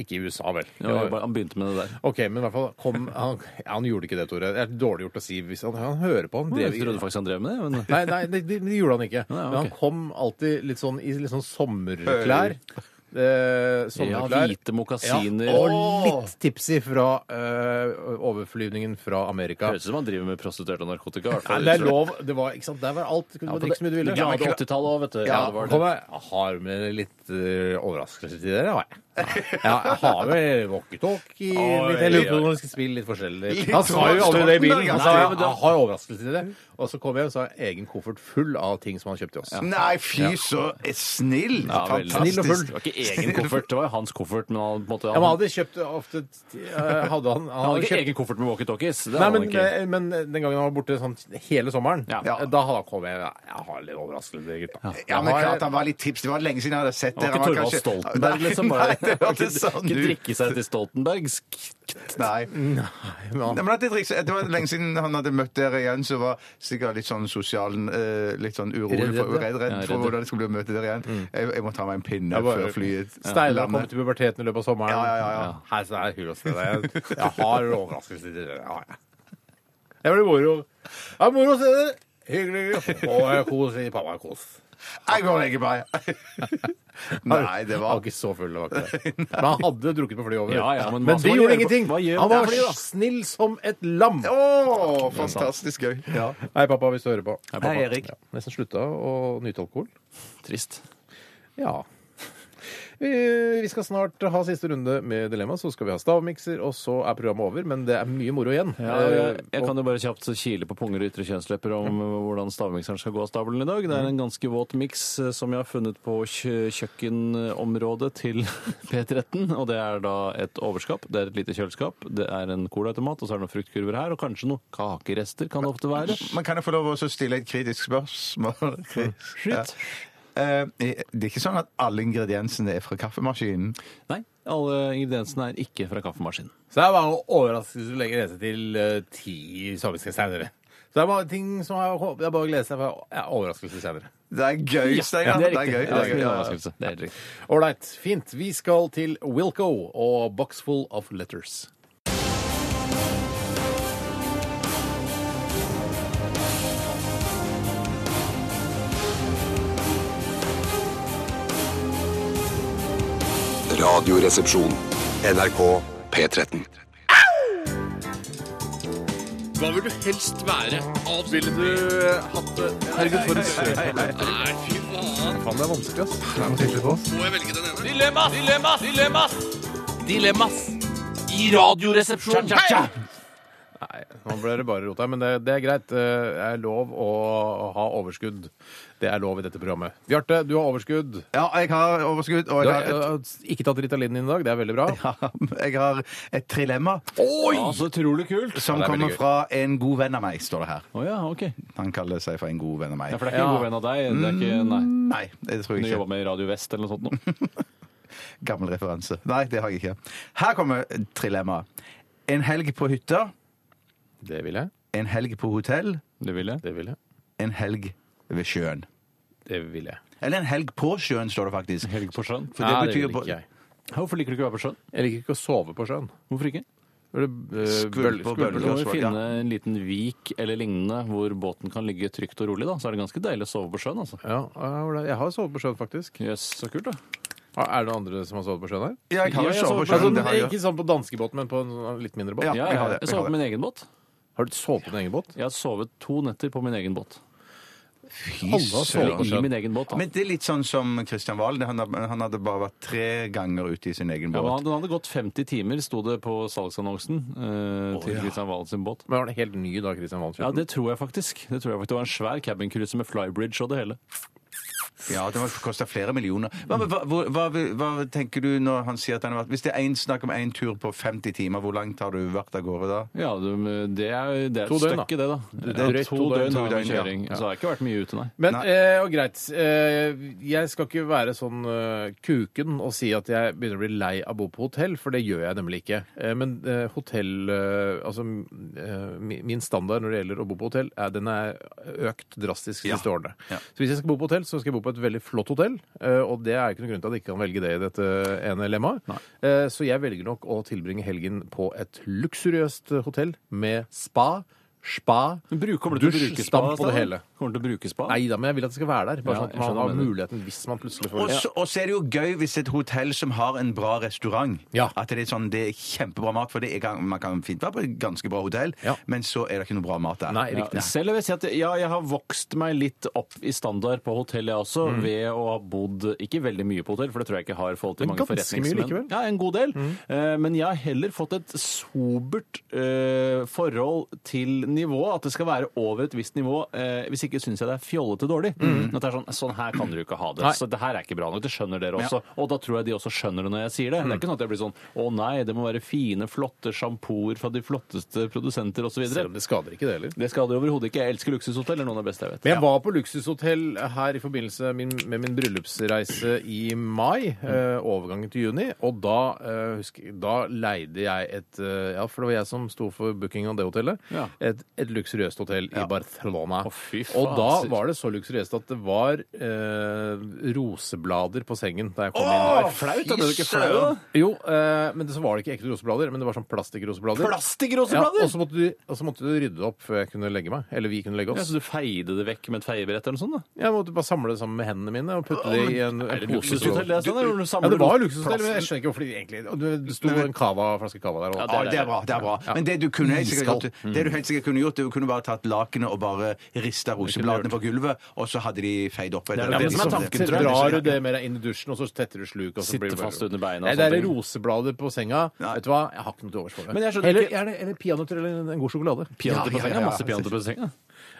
Ikke i USA, vel? Ja, jeg bare- han begynte med det der. Ok, men i hvert fall kom, han, han gjorde ikke det, Tore. Det er dårlig gjort å si hvis han, han hører på. Han Jeg drev trodde faktisk han drev med det, men Nei, nei det, det, det gjorde han ikke. Nei, Men han ok. kom alltid litt sånn i litt sånn sommerklær. Eh, Ja, sommerklær. hvite mokasiner. Ja, og litt tipsy fra eh, overflyvningen fra Amerika. Høres ut som han driver med prostituerte og narkotika. i hvert Nei, fall. det er lov. Det var, ikke sant? Der var alt. Du kunne Ja, drikke så mye du ville. Det glade 80-tallet òg, vet du. Ja, Ja, det var kom det. jeg, jeg har med litt eh, overraskelse til dere, har jeg. Ja, jeg har med walkietalkie. litt- Jeg lurer på om vi skal spille litt forskjellig. Han sa jo aldri det i bilen. Han sa Stoltenberg, jeg, jeg har overraskelse til dere. Og så kom jeg og sa egen koffert full av ting som han kjøpte til oss. Nei, fy så snill! Ja, veldig. Snill og full. Det var ikke egen koffert, det var jo hans koffert. Men han, på en måte, Ja, men han, han han hadde kjøpt ofte eh, Hadde han, han hadde hadde ikke kjøpt egen koffert med walkietalkies. Det Nei, hadde men, eh, han ikke. men den gangen han var borte sånn hele sommeren, eh, Ja. da hadde- kom jeg Jeg har litt overraskelse, til dere, gutta. Ja, men Jeg har- klart han var litt tips. Det var lenge siden jeg hadde sett Det dere. var ikke Han Torvald kanskje- Stoltenberg, liksom. [LAUGHS] Nei, Bare. [LAUGHS] det var ikke sånn ikke du. drikke seg til Stoltenberg. Nei. Nei, men at det, er riktig- det var lenge siden han hadde møtt dere igjen, så var sikkert litt sånn sosial eh, Litt sånn urolig Redd, for, ja. redd, redd Ja, for redd. hvordan det skulle bli å møte dere igjen. Jeg, jeg må ta meg en pinne Jeg bare- før flyet Steinar kom lander. til puberteten i løpet av sommeren. Ja, ja, ja, ja. Hei, så er det hyggelig å se [LAUGHS] deg. Jeg- Jeg har overraskelse til dere. Ja, ja. Det blir moro. Ja, moro å se dere. Hyggelig. hyggelig. Og eh, kos i pappa kos. Jeg går og legger meg! Nei, det Han var var ikke så full, det var ikke det. Men han hadde drukket på flyet over. Ja, ja, men hva skal men det man gjøre gjorde på- ingenting. hva gjør Han man var på fly, da? snill som et lam. Å, fantastisk gøy. Hei, pappa, hvis du hører på. Hei, pappa. Hei, Erik. Ja, nesten slutta å nyte alkohol. Trist. Ja. [LAUGHS] Vi vi skal snart ha siste runde med Dilemma, så skal vi ha stavmikser, og så er programmet over. Men det er mye moro igjen. Eh, Ja, Eh, jeg, jeg kan jo bare kjapt kile på punger og ytre kjønnslepper [LAUGHS] om eh, hvordan stavmikseren skal gå av stabelen i dag. Det Mm. er en ganske våt miks eh, som jeg har funnet på kjø kjøkkenområdet til [LAUGHS] P13. Og det er da et overskap, det er et lite kjøleskap, det er en colaautomat, og så er det noen fruktkurver her, og kanskje noen kakerester kan det ofte være. [LAUGHS] Men kan jeg få lov å også stille et kritisk spørsmål? Ja. Eh, Det er ikke sånn at alle ingrediensene er fra kaffemaskinen? Nei, alle ingrediensene er ikke fra kaffemaskinen. Så det er bare en overraskelse du legger nese til eh, ti samiske senere. Så det er bare ting som er, det er bare å glede seg for ja, overraskelse senere. Det er gøy, Steinar. det er gøy. Ja, det er en Ja, ja. overraskelse. Det er helt riktig. Ålreit, fint. Vi skal til Wilco og Box Full of Letters. Radioresepsjon. NRK P13. Dilemmas! Dilemmas! Dilemmas! Dilemmas! I Radioresepsjonen! Nei, nå ble det bare rot her, men det, det er greit. Eh, Det er lov å ha overskudd. Det er lov i dette programmet. Bjarte, du har overskudd. Ja, jeg har overskudd, og Du jeg har, har, eh, ikke tatt Ritalin din i dag, det er veldig bra. et, jeg har et trilemma Ja, så utrolig kult! som Ja, det er veldig kommer gøy. fra en god venn av meg, står det her. Å ja, ok. Ja, Han kaller seg for en god venn av meg. for det er ikke en Ja. Mm. god venn av deg. Det er ikke, nei. Nei, det tror Du jeg jobba ikke. med Radio Vest eller noe sånt nå. Gammel referanse. Nei, det har jeg ikke. Her kommer trilemmaet. En helg på hytta, [LAUGHS] Det vil jeg. en helg på hotell, Det vil jeg. Det vil jeg. en helg ved sjøen. Det vil jeg. Eller en helg på sjøen, står det faktisk. Helg på sjøen. For det Nei, betyr vil på- ikke jeg. Hvorfor liker du ikke å være på sjøen? Jeg liker ikke å sove på sjøen. Hvorfor ikke? Hvor det, eh, Skvulp bøl- og skvulp- Du bølger. må jo Lørdagsvalg, ja. finne en liten vik eller lignende hvor båten kan ligge trygt og rolig. da, Så er det ganske deilig å sove på sjøen. altså. Ja, ja, hvordan- jeg har sovet på sjøen, faktisk. Jøss, så kult, da. Ja, Er det noen andre som har sovet på sjøen her? Ja, jeg har Ja, jo jeg sovet på så- Altså, sjøen. Det har jeg. ikke sånn på danskebåten, men på en sånn litt mindre båt. Ja. Ja, jeg jeg har har det, jeg sovet har på min egen båt. Har du sovet på din egen båt? Jeg har sovet to netter på min egen båt. Fy Alle har sovet i min egen båt. da. Men det er litt sånn som Kristian Valen. Han, har- han hadde bare vært tre ganger ute i sin egen Ja, men han- båt. Den hadde gått 50 timer, sto det på salgsannonsen eh, til Kristian Valen sin båt. Men var det helt ny da, Christian Valen? Ja, det tror jeg faktisk. Det tror jeg faktisk. Det var en svær cabincruiser med flybridge og det hele. Ja, Det kosta flere millioner. Hva, hva, hvor- hva, hva tenker du når han sier at han har vært Hvis det er en, snakk om én tur på 50 timer, hvor langt har du vært av gårde da? Ja, det, det er, det er To et døgn, da. stykke, det, da. er drøyt to, to døgn, da, døgn, to med døgn, ja. kjøring. Så det har ikke vært mye ute, nei. Men Nei. eh, og greit, eh, jeg skal ikke være sånn eh, kuken og si at jeg begynner å bli lei av å bo på hotell, for det gjør jeg nemlig ikke. Eh, men eh, hotell eh, Altså, eh, mi- min standard når det gjelder å bo på hotell, er, den er økt drastisk de siste årene. Så hvis jeg skal bo på hotell, så skal jeg bo på et veldig flott hotell, eh, og det er ikke noen grunn til at jeg ikke kan velge det i dette ene lemmaet. Eh, så jeg velger nok å tilbringe helgen på et luksuriøst hotell med spa, spa, Men bruk- kommer du til å dusj, bruke spa, stamp og Stein? det hele. altså? Kommer du til å bruke spa? Nei da, men jeg vil at det skal være der. Bare Ja, sånn at jeg man skjønner har hva du mener. muligheten hvis man plutselig får Og så- Og så er det jo gøy hvis et hotell som har en bra restaurant Ja. At det er sånn, det er kjempebra mat, for det er, gang- man kan fint være på et ganske bra hotell, Ja. men så er det ikke noe bra mat der. Nei, Ja, riktig. Selv vil jeg si at ja, jeg har vokst meg litt opp i standard på hotell, jeg også, Mm. ved å ha bodd ikke veldig mye på hotell, for det tror jeg ikke har forhold til Men mange ganske mye forretningsmenn. likevel. Mm. Ja, en god del. Eh, men jeg har heller fått et sobert eh, forhold til nivået, at det skal være over et visst nivå. eh, hvis ikke syns jeg det er fjollete dårlig. At det er sånn, sånn her kan dere jo ikke ha det. Mm. Nei. Så det her er ikke bra nok. Det skjønner dere også. Og da tror jeg de også skjønner det når jeg sier det. Mm. Det er ikke sånn at jeg blir sånn å nei, det må være fine, flotte sjampoer fra de flotteste produsenter osv. Selv om det skader ikke det heller. Det skal det overhodet ikke. Jeg elsker luksushotell. Det er noen av det beste jeg vet. Men jeg var på luksushotell her i forbindelse med min, med min bryllupsreise i mai. Eh, overgangen til juni. Og da, eh, husker, jeg- da leide jeg et eh, Ja, for det var jeg som sto for booking av det hotellet. Ja. Et, et luksuriøst hotell i Barcelona. Å, fy og da faen. var det så luksuriøst at det var eh, roseblader på sengen da jeg kom inn. Åh, flaut! Da ble du ikke flau, da? Jo, eh, men det, så var det ikke ekte roseblader, men det var sånn plastikkroseblader. Ja, og, så måtte du, og så måtte du rydde det opp før jeg kunne legge meg. Eller vi kunne legge Ja, oss. så du feide det vekk med et feiebrett eller noe sånt? da? Jeg måtte bare samle det sammen med hendene mine og putte det i en, en Er det pose. luksushotell? Det er sånn, eller når du Ja, samler det var ros- luksushotell, men jeg skjønner ikke hvorfor de egentlig og Det det sto en cava, flaske cava der. Ja, Og, Ja, det er bra. det er bra. Men det du kunne helt sikkert Iskald. gjort, Mm. det du helt sikkert kunne gjort, det er du kunne bare tatt lakenet og bare rista rosebladene på gulvet, og så hadde de feid opp. det er det sånn som er tanken, så tror jeg. drar du det med deg inn i dusjen, og så tetter du sluk. Og så Sitter blir det bare- fast under beina og Nei, det er sånne ting. roseblader på senga. Nei. Vet du hva, jeg har ikke noe til overs for det. Men jeg skjønner Eller- ikke- gjerne- Eller peanøtter eller en- en god sjokolade. Peanøtter på Ja, ja, senga? ja. Masse peanøtter på [LAUGHS] senga?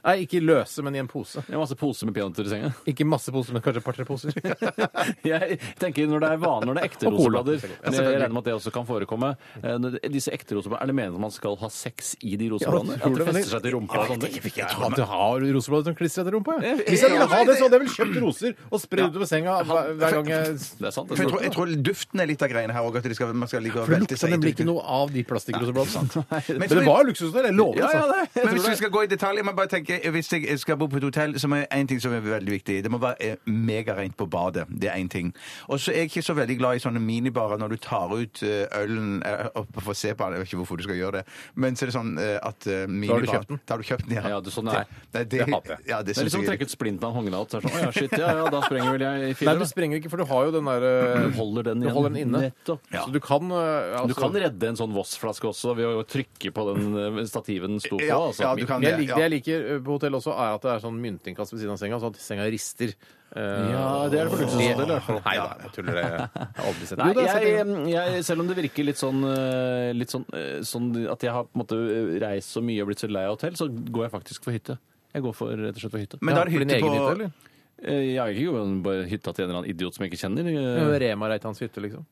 Nei, ikke løse, men i en pose. Jeg har masse poser med peanøtter i senga. [LAUGHS] Ikke masse poser, men kanskje et par-tre poser. [LAUGHS] [LAUGHS] Jeg tenker når det er vanlig, når det er ekte Og cola. roseblader Ja, men Jeg selvfølgelig. regner med at det også kan forekomme. Eh, når det- Disse ekte rosebladene, Er det meningen at man skal ha sex i de rosebladene? Ja, At tror det du det? fester seg til rumpa og sånne ting? Jeg tror at du har roseblader som klistrer etter rumpa. jeg. Hvis jeg ville ha det, så hadde jeg vel kjøpt roser og spredd utover senga hver hver gang jeg Det er sant. For jeg tror, det jeg tror duften er litt av greiene her òg, at de skal, man skal ligge og For det velte lukta seg nemlig i ikke noe av de [LAUGHS] plastikkrosebladene. Men Men så- det var luksushotell, jeg lover. Ja, ja, altså. det. Jeg Men tror hvis vi det. skal gå i detalj, jeg må bare tenke, hvis jeg skal bo på et hotell, så må jeg- en ting som er veldig viktig. Det må være eh, megareint på badet. Det er én ting. Og så er jeg ikke så veldig glad i sånne minibarer når du tar ut eh, ølen eh, opp for å se på den. Jeg vet ikke hvorfor du skal gjøre det. Men så er det sånn eh, at eh, minibar kjøpt den? Da har du kjøpt den, ja. Ja, du, sånn er. Nei, Det hater jeg. Ja, det, Det er synes liksom å jeg- trekke ut splinten av en håndgranat. så er det Sånn, å ja, shit, ja, ja, da sprenger vel jeg i Nei, filler. du da. sprenger ikke, for du har jo den derre Du holder den Du igjen. holder den inne. Nettopp. Så du kan eh, altså, Du kan redde en sånn Voss-flaske også ved å trykke på den eh, stativen den sto på. Ja, Altså. ja, du kan Men jeg det. liker, ja. Det jeg liker eh, på hotell også, er at det er sånn myntinnkast ved siden av senga, sånn at senga rister. Eh, Ja, det er det på luksushotell, i hvert fall. Nei da, jeg tuller. det. Jeg har aldri sett Nei, Jo, det har jeg sett jeg, en gang. jeg, selv om det virker litt sånn, eh, litt sånn, eh, sånn at jeg har på en måte eh, reist så mye og blitt så lei av hotell, så går jeg faktisk for hytte. Jeg går for, rett og slett for hytte. Men Ja, da er det for din hytte egen på hytte, eller? Eh, Jeg har ikke gått på hytta til en eller annen idiot som jeg ikke kjenner. Ja, Eh, Rema Reitans hytte, liksom.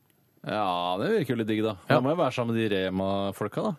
Ja, det virker jo litt digg, da. Ja. Da må jeg være sammen med de Rema-folka, da.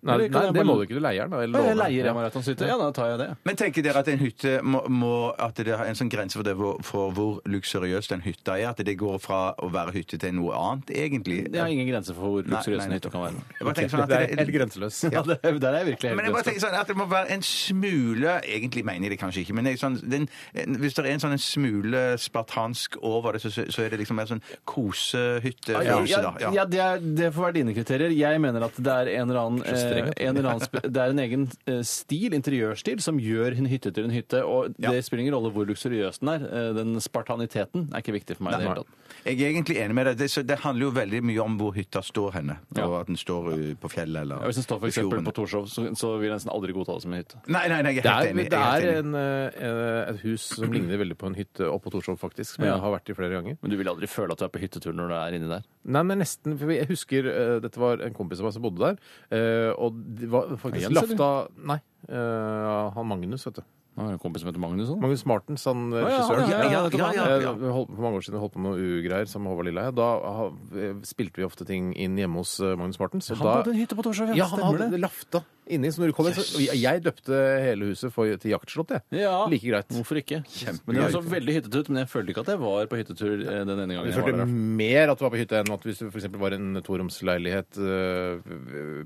Nei, Eller kan nei, jeg det bare- må du ikke. Du leier den. da, eller Ja, jeg låner den. leier Ja. Rema Reitans hytte. Ja, da tar jeg det. Men tenker dere at en hytte må, må At det er en sånn grense for, det, hvor- for hvor luksuriøs den hytta er? At det går fra å være hytte til noe annet, egentlig? Jeg har ingen grenser for hvor Nei, luksuriøs en nei, hytte kan være. Jeg bare tenker sånn at Det er det- helt grenseløs. Ja, [LAUGHS] det, der er jeg virkelig Men jeg bare helt tenker sånn at det må være en smule Egentlig mener jeg det kanskje ikke, men jeg, sånn, den, en- hvis det er en sånn en smule spartansk over det, så, så er det liksom mer sånn kosehyttefølelse, Ah, Ja, da. ja, det, er, det får være dine kriterier. Jeg mener at det er en eller annen eh, strengt. en eller annen sp- det er en egen eh, stil, interiørstil, som gjør en hytte til en hytte. Og det spiller ingen rolle hvor luksuriøs den er. Eh, Den spartaniteten er ikke viktig for meg i det hele tatt. Jeg er egentlig enig med deg. Det, så det handler jo veldig mye om hvor hytta står henne. Ja. Og at den står uh, på fjellet eller Ja, Hvis den står for i fjorden. eksempel på Torshov, så, så vil jeg nesten aldri godta det som en hytte. Nei, nei, nei, jeg Det er helt er, enig. det Jeg er er helt enig. en, eh, et hus som ligner veldig på en hytte oppe på Torshov, faktisk. Som Ja. jeg har vært i flere ganger. Men du vil aldri føle at du er på hyttetur når du er inni der. Nei, men nesten, for jeg husker eh, Dette var en kompis av meg som bodde der. eh, og det var faktisk Jens, eller? lafta Nei, eh, han Magnus, vet du. Nå har jeg en kompis som heter Magnus òg. Magnus Martens, han eh, ja, regissøren. ja, ja, ja, ja, ja, ja. Eh, vi holdt- For mange år siden holdt på med noe u-greier som Håvard Lilleheie. Da ha- eh, spilte vi ofte ting inn hjemme hos eh, Magnus Martens. og Han da- bodde i en hytte på Torshov, ja, han hadde lafta inni. Så når du kom inn, så, og jeg, jeg døpte hele huset for, til jaktslott, jeg. Ja. Like greit. Hvorfor ikke? Men Det så veldig hyttete ut, men jeg følte ikke at jeg var på hyttetur eh, den ene gangen. Du jeg var følte der. mer at du var på hytta enn at hvis du f.eks. var i en toromsleilighet øh,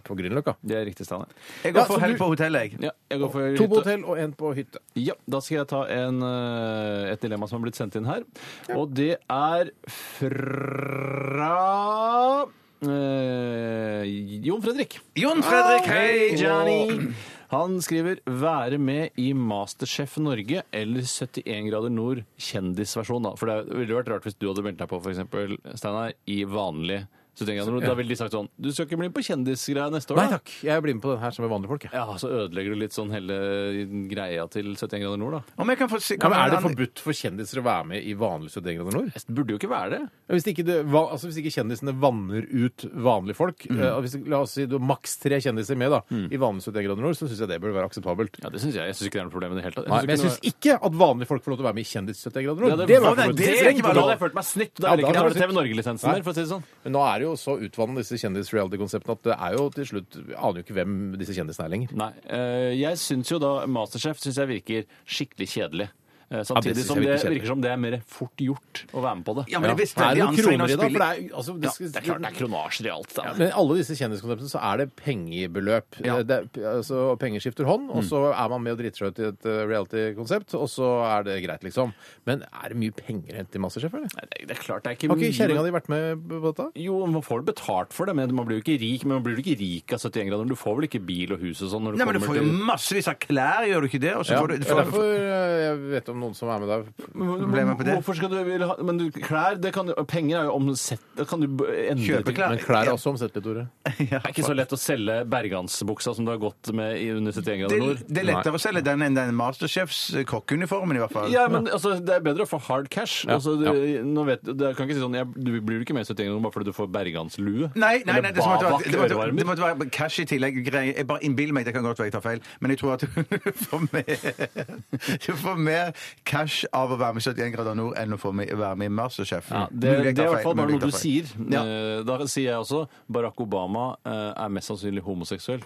på Grünerløkka. Det er riktig, Steinar. Jeg går Ja, så for hell du- på hotellet, jeg. Ja, jeg går for To på hytte. hotell og én på hytte. Ja, da skal jeg ta en, eh, et dilemma som har blitt sendt inn her. Og det er fra eh, Jon Fredrik. Jon Ah, Fredrik, hei! Han skriver 'Være med i Masterchef Norge' eller 71 grader nord kjendisversjon. da. For det ville vært rart hvis du hadde meldt deg på for eksempel, Steinar, i vanlig 71 grader nord. Da ville de sagt sånn 'Du skal ikke bli med på kjendisgreia neste år', Nei da'. takk, jeg blir med på den her som er vanlige folk. jeg. Ja, Så ødelegger du litt sånn hele greia til 71 grader nord, da. Om jeg kan få si Ja, men Er det kan- forbudt for kjendiser å være med i vanlig 71 grader nord? Det burde jo ikke være det. Ja, Hvis ikke, det, va- altså hvis ikke kjendisene vanner ut vanlige folk Mhm. eh, og hvis, La oss si du har maks tre kjendiser med da, i vanlig 71 grader nord, så syns jeg det burde være akseptabelt. Ja, det synes Jeg Jeg synes ikke det er noe problem i det hele tatt. Nei, men jeg syns ikke at vanlige folk får lov til å være med i kjendis 71 grader nord. Ja, det- Det må Å, nei, være det forbudt. er ikke bra. Da hadde jeg følt meg snytt. Da Ja, ville jeg da ikke hadde betalt du- TV Norge-lisensen Nei. der, for å si det sånn. Men nå er det jo så utvannet disse kjendis-reality-konseptene at det er jo til slutt vi Aner jo ikke hvem disse kjendisene er lenger. Nei, eh, jeg syns jo da Masterchef synes jeg virker skikkelig kjedelig. Eh, det Samtidig synes som jeg det virker kjedelig. virker som det er mer fort gjort å være med på det. Ja, men det er visst Er veldig det noen anstrengende kroner å i det? da? For spille. det er, jo- altså, det skal, Det er klart det er kronasjer i alt. Da. Men i alle disse kjendiskonseptene så er det pengebeløp. Det er, altså, penger skifter hånd, og så er man med og driter seg ut i et eh, reality-konsept, og så er det greit, liksom. Men er det mye penger å hente i Masterchef, eller? Nei, det, det er klart det er ikke Har ikke kjerringa di vært med på dette? Jo, man får betalt for det, men man blir jo ikke rik Men man blir jo ikke rik av 71 grader. Du får vel ikke bil og hus og sånn når du Nei, men du kommer får jo til massevis av klær, gjør du ikke det? Og så Ja, får du, det du er får, derfor eh, jeg vet om noen som er med der. Problemet på det. Hvorfor skal du vil ha Men du, klær det kan, jo- Penger er jo omsett... Da kan du b- endre Kjøpe ting. klær. Men klær er også omsettelig, Tore. Ja, Det er ikke så lett å selge Bergansbuksa som du har gått med i under 71 det, grader nord. det er lettere å selge den enn den Masterchefs kokkeuniformen, i hvert fall. Ja, men altså, Det er bedre å få hard cash. altså, du, ja. nå vet, du kan ikke si sånn, jeg, Du blir jo ikke med i 71 ganger bare fordi du får berganslue. Nei, nei, nei, Eller det, som måtte, Babak være- det, måtte, ørevarmer. det måtte være cash i tillegg. Grei. Jeg bare innbiller meg, det kan godt være jeg tar feil, men jeg tror at hun [LAUGHS] får mer, hun får mer cash av å være med i 71 grader nord enn å få med, være med i Masterchef. Ja, det, det Mulig er jeg i tar hvert feil, fall bare mulig jeg noe tar du sier. Ja. Eh, Da sier jeg også Barack Obama eh, er mest sannsynlig homoseksuell.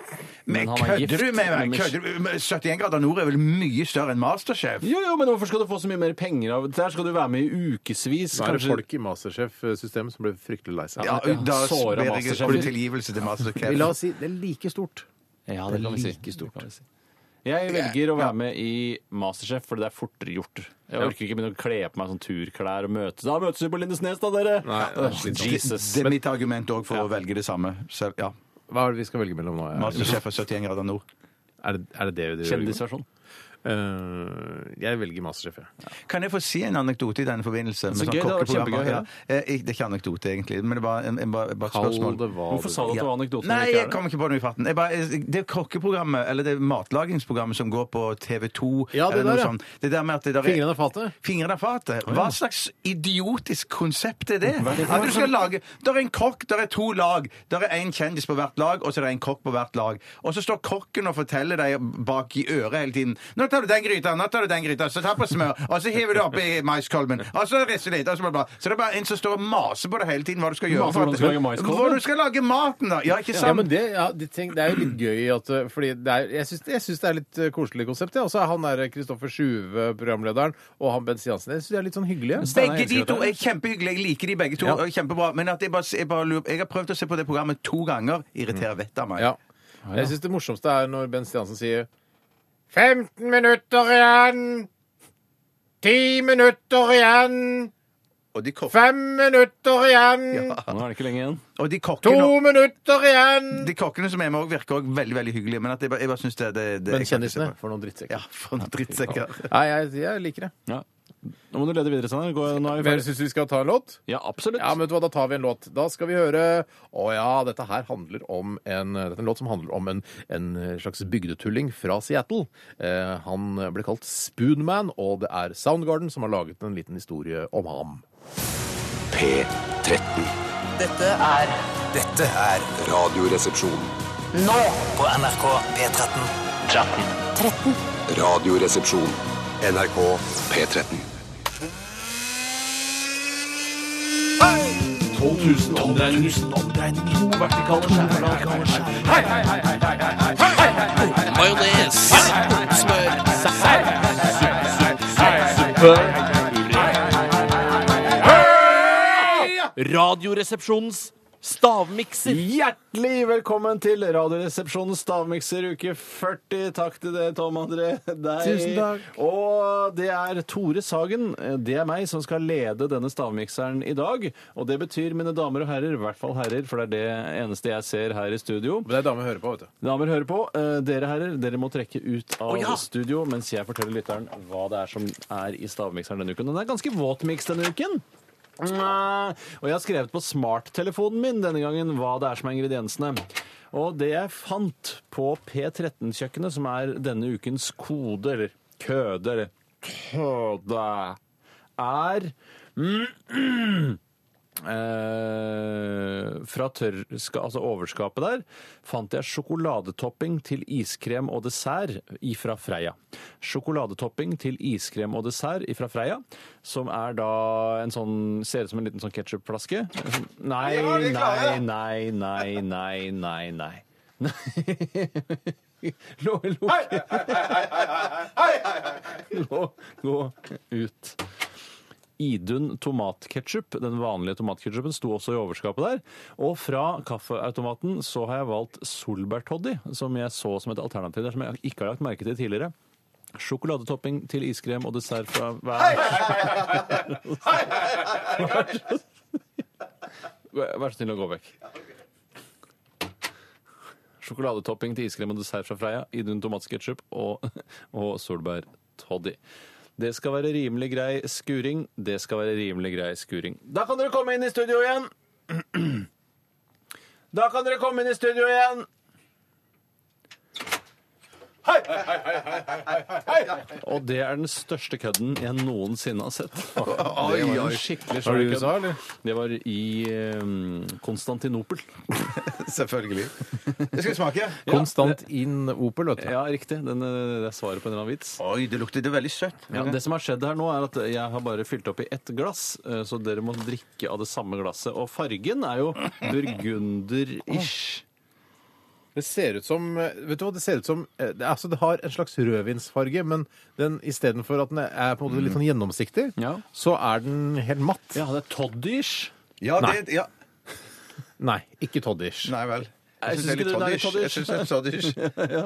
Men kødder du med meg? Kødder du? 71 grader nord er vel mye større enn Masterchef? Jo, jo, men hvorfor skal du få så mye mer penger av Der skal du være med i ukevis. Så er det kanskje- folk i Masterchef-systemet som ble fryktelig lei seg. Ja, da såra ber jeg Masterchef. om tilgivelse til Masterchef. Vi La oss si det er like stort. Ja, det kan vi si. like stort. Det kan vi si. Jeg velger å være med i Masterchef, for det er fortere gjort. Jeg orker ikke begynne å kle på meg sånn turklær og møtes. Da møtes vi på Lindesnes, da, dere! Nei, det er Åh, slitsomt. Jesus. Det er mitt argument òg for å velge det samme. Selv, ja. Hva er det vi skal velge mellom nå? Masterchef er 71 grader nord. Er det er det det vi gjør? Kjendisversjon. Eh, jeg velger Masterchef, jeg. Kan jeg få si en anekdote i denne forbindelse? sånn Så gøy, det hadde vært kokkeprogrammer? kjempegøy, ja. Ja. Eh, ikke- Det er ikke anekdote, egentlig, men det var, en, en, bare, bare et Kall spørsmål. det hva Hvorfor sa du at det Ja. var anekdote? Nei, jeg kom ikke på noe i farten. Jeg bare, jeg- det er kokkeprogrammet, eller det er matlagingsprogrammet som går på TV2 Ja, det eller noe der, ja. sånt. Det der med at det der er- Fingrene av fatet? Fingrene av fatet. Hva slags idiotisk konsept er det? er det for At du skal lage Der er en kokk, der er to lag. Der er en kjendis på hvert lag, og så er det en kokk på hvert lag. Og så står kokken og forteller deg bak i øret hele tiden 'Nå tar du den gryta, nå tar du den gryta', så ta på smør, og så hiver du opp i maiskolben, og så rister litt, og så bla, bla. Så det er bare en som står og maser på deg hele tiden hva du skal gjøre. Maser for at- hvordan du skal lage maiskolben? Hvor du skal lage maten, da! Ja, ikke sant? Ja, men det, ja, de ting, det er jo litt gøy at eh, Fordi det er, jeg syns jeg syns det er litt eh, koselig konsept. Ja. Og så er han der Kristoffer Sjuve, programlederen, og han Bent Stiansen. Jeg syns de er litt sånn hyggelige. Men Steinar Begge de elsker to dette. er kjempehyggelige. Jeg liker de begge to. Ja. og Kjempebra. Men at jeg, bare, jeg, bare lurer, jeg har prøvd å se på det programmet to ganger. Irriterer vettet av meg. Ja. Jeg syns det morsomste er når Bent Stiansen sier 15 minutter igjen! 10 minutter igjen! Og de, kok Fem minutter igjen! Nå er det ikke lenge igjen. og de To kokkene minutter igjen! de kokkene som er med òg, virker også veldig veldig hyggelige. Men at jeg bare, jeg bare synes det, det, det Men jeg kan ikke se kjendisene? på. For noen drittsekker. Ja, for noen drittsekker. Nei, jeg, jeg liker det. Ja. Nå må du lede videre, Steinar. Gå- Nå er vi Men ferdig. Syns du vi skal ta en låt? Ja, absolutt. Ja, men vet du hva, Da tar vi en låt. Da skal vi høre Å ja, dette her handler om en, dette er en låt som handler om en, en slags bygdetulling fra Seattle. Eh, han ble kalt Spoonman, og det er Soundgarden som har laget en liten historie om ham. P13. Dette er Dette er Radioresepsjon. Nå på NRK P13. Radioresepsjon. NRK P13. 12 000 omdreininger. To vertikale skjærer. Majones. Smør. Suppe. Radioresepsjonens stavmikser. Hjertelig velkommen til Radioresepsjonens stavmikser uke 40. Takk til deg, Tom André. Deg. Tusen takk. Og det er Tore Sagen, det er meg, som skal lede denne stavmikseren i dag. Og det betyr, mine damer og herrer, i hvert fall herrer, for det er det eneste jeg ser her i studio. Det er damer hører på, vet du. Damer hører på. Eh, Dere herrer, dere må trekke ut Å, av ja. studio mens jeg forteller lytteren hva det er som er i stavmikseren denne uken. Og den er ganske våt miks denne uken. Mm, Og jeg har skrevet på smarttelefonen min denne gangen hva det er som er ingrediensene. Og det jeg fant på P13-kjøkkenet, som er denne ukens kode, eller køde, eller køde, er [CLEARS THROAT] mm, Eh, fra tørrska, altså overskapet der fant jeg sjokoladetopping til iskrem og dessert ifra Freia. Sjokoladetopping til iskrem og dessert ifra Freia, som er da en sånn Ser ut som en liten sånn ketsjupflaske. Nei, nei, nei, nei, nei, nei. nei. [LAUGHS] Nei Lå- Lukk Lå- Gå ut. Idun tomatketchup, den vanlige tomatketchupen, sto også i overskapet der. Og fra kaffeautomaten så har jeg valgt solbærtoddy, som jeg så som et alternativ der, som jeg ikke har lagt merke til tidligere. Sjokoladetopping til iskrem og dessert fra hver Vær så snill å gå vekk. Sjokoladetopping til iskrem og dessert fra Freia, Idun tomatsketchup og, og solbærtoddy. Det skal være rimelig grei skuring. Det skal være rimelig grei skuring. Da kan dere komme inn i studio igjen! Da kan dere komme inn i studio igjen! Og det er den største kødden jeg noensinne har sett. Det var en skikkelig Var svær det i USA, kødd. eller? Det var i eh, Konstantinopel. Selvfølgelig. Jeg skal smake. Konstant in Opel, vet du. Ja, riktig. Den, eh, det er svaret på en eller annen vits. Oi, det lukter det er veldig søtt. Ja, det som har skjedd her nå er at Jeg har bare fylt opp i ett glass, eh, så dere må drikke av det samme glasset. Og fargen er [CLEARS THROAT] jo burgunder-ish. Det ser ut som Vet du hva, det ser ut som eh, det, Altså, det har en slags rødvinsfarge, men den istedenfor at den er på en måte litt sånn gjennomsiktig, Ja. så er den helt matt. Ja, det er toddy-ish. Ja, det, ja. Nei, ikke toddish. Nei vel. Jeg Jeg syns det synes er litt ikke det er litt toddish. Jeg synes det er toddish.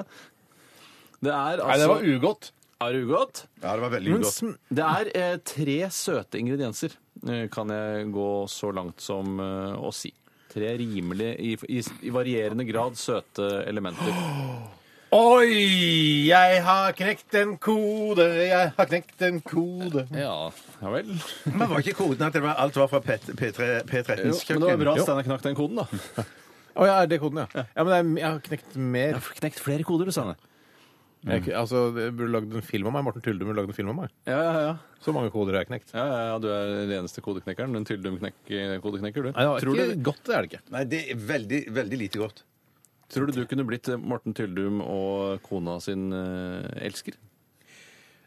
Det er Nei, det altså var ugodt. Er det ugodt? Ja, det var veldig Men ugodt. sm- Det er eh, tre søte ingredienser, eh, kan jeg gå så langt som eh, å si. Tre rimelig, i, i, i varierende grad, søte elementer. Oi, jeg har knekt en kode, jeg har knekt en kode. Ja, ja vel. Men var ikke koden at det var, alt var fra P- P3 Jo, P13s men det var kjøkken? bra Steinar knakk den koden, da. Å ja, er det koden, ja? Ja, men det er, jeg har knekt mer. har knekt flere koder, du, Steinar. Jeg, altså, jeg burde lagd en film om meg. Morten Tylde burde lagd en film om meg. Ja, ja, ja. Så mange koder har jeg knekt. Ja, ja, ja, du er den eneste kodeknekkeren. Den Tyldum-kodeknekker, du. Nei, det var tror, ikke du, godt, det er det ikke. Nei, det er veldig, veldig lite godt. tror du du kunne blitt eh, Morten Tyldum og kona sin eh, elsker?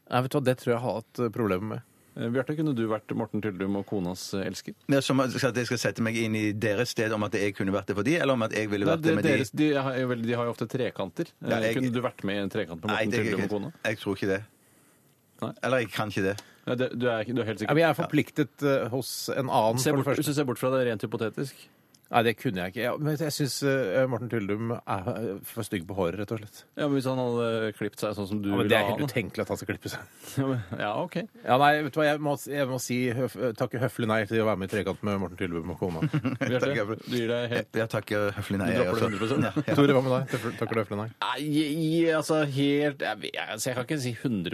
Nei, vet du hva, Det tror jeg har hatt eh, problemer med. Eh, Bjarte, kunne du vært Morten Tyldum og konas eh, elsker? Men som at at jeg skal sette meg inn i deres sted, om at jeg kunne vært det for de, eller om at jeg ville Nei, vært det det, med deres, de. de, har jo vel- de har jo ofte trekanter. Eh, Ja, jeg- Kunne du vært med i en trekant med Nei, Morten det, Tyldum jeg, og kona? jeg tror ikke det. Nei. Eller jeg kan ikke det. Nei, det, du, er, ikke- du er helt Ja, sikker? men jeg er forpliktet eh, hos en annen, Se for det bort, første. hvis du ser bort fra det rent hypotetisk. Nei, det kunne jeg ikke. Ja, men jeg syns eh, Morten Tyldum er eh, for stygg på håret, rett og slett. Ja, men Hvis han hadde klippet seg sånn som du Ja, men ville Det er ha helt det. utenkelig at han skal klippe seg. Ja, men- [LAUGHS] ja, OK. Ja, nei, vet du hva, Jeg må, jeg må si høf, takke høflig nei til å være med i Trekant med Morten Tyldum og [LAUGHS] kona. Eh, [LAUGHS] Takk, Bjarte, jeg- du gir deg helt Jeg takker eh, høflig nei. Du jeg dropper det også. 100 Ja, altså, [LAUGHS] Tore, hva med deg? Takker- Takker du høflig nei? Nei, i- i- altså helt jeg, vet- altså, jeg kan ikke si 100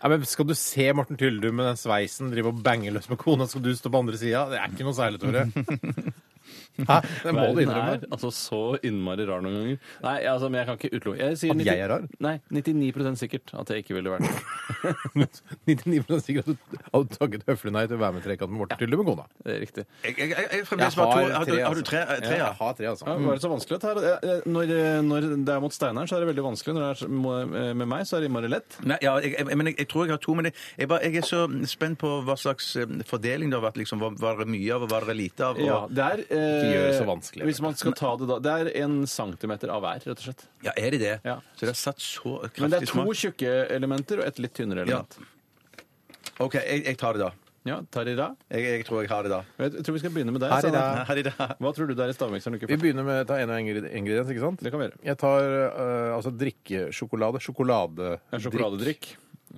Nei, men Skal du se Morten Tyldum med den sveisen drive og bange løs med kona, skal du stå på andre sida? Det er ikke noe særlig, Tore. [LAUGHS] Hæ? Det må Verden du innrømme. er altså så innmari rar noen ganger. Nei, altså, men jeg kan ikke utelukke jeg sier At jeg er rar? Nei, 99 sikkert at jeg ikke ville [LAUGHS] vært det. 99 sikkert at du hadde takket høflig nei til å være med i Trekant med Morten Tyldum og kona. det er eh, riktig. Jeg, jeg, jeg, jeg Jeg fremdeles har bare tre, to. Har, du- har du altså. tre? eh, tre Ja, ja. jeg har tre, altså. Ja, var det så vanskelig dette her? Eh, eh, Når, eh, når det er mot Steinar, så er det veldig vanskelig. Når det er mo- eh, med meg, så er det innmari lett. Nei, ja, jeg, jeg, men jeg, jeg tror jeg har to, men jeg, jeg, bare, jeg er så spent på hva slags eh, fordeling det har vært. Liksom, Hva- var det mye av, og var det lite av? Og, Ja, det er eh, Ikke gjør det så vanskelig, Hvis man skal ta det da Det er en centimeter av hver, rett og slett. ja, er det det? Ja. Så det har satt så kraftig Men det er to smak. tjukke elementer og et litt tynnere element. OK, jeg, jeg tar det da. Ja, Tarira. Jeg, jeg tror jeg har det da. Jeg tror vi skal begynne med deg. Tarira. Sanne. Har de det? Hva tror du det er i stavmikseren? du ikke Vi får? begynner med å ta en av ingre- ingrediens, ikke sant? Det kan vi gjøre. Jeg tar eh, altså drikkesjokolade. Sjokolade. En sjokoladedrikk.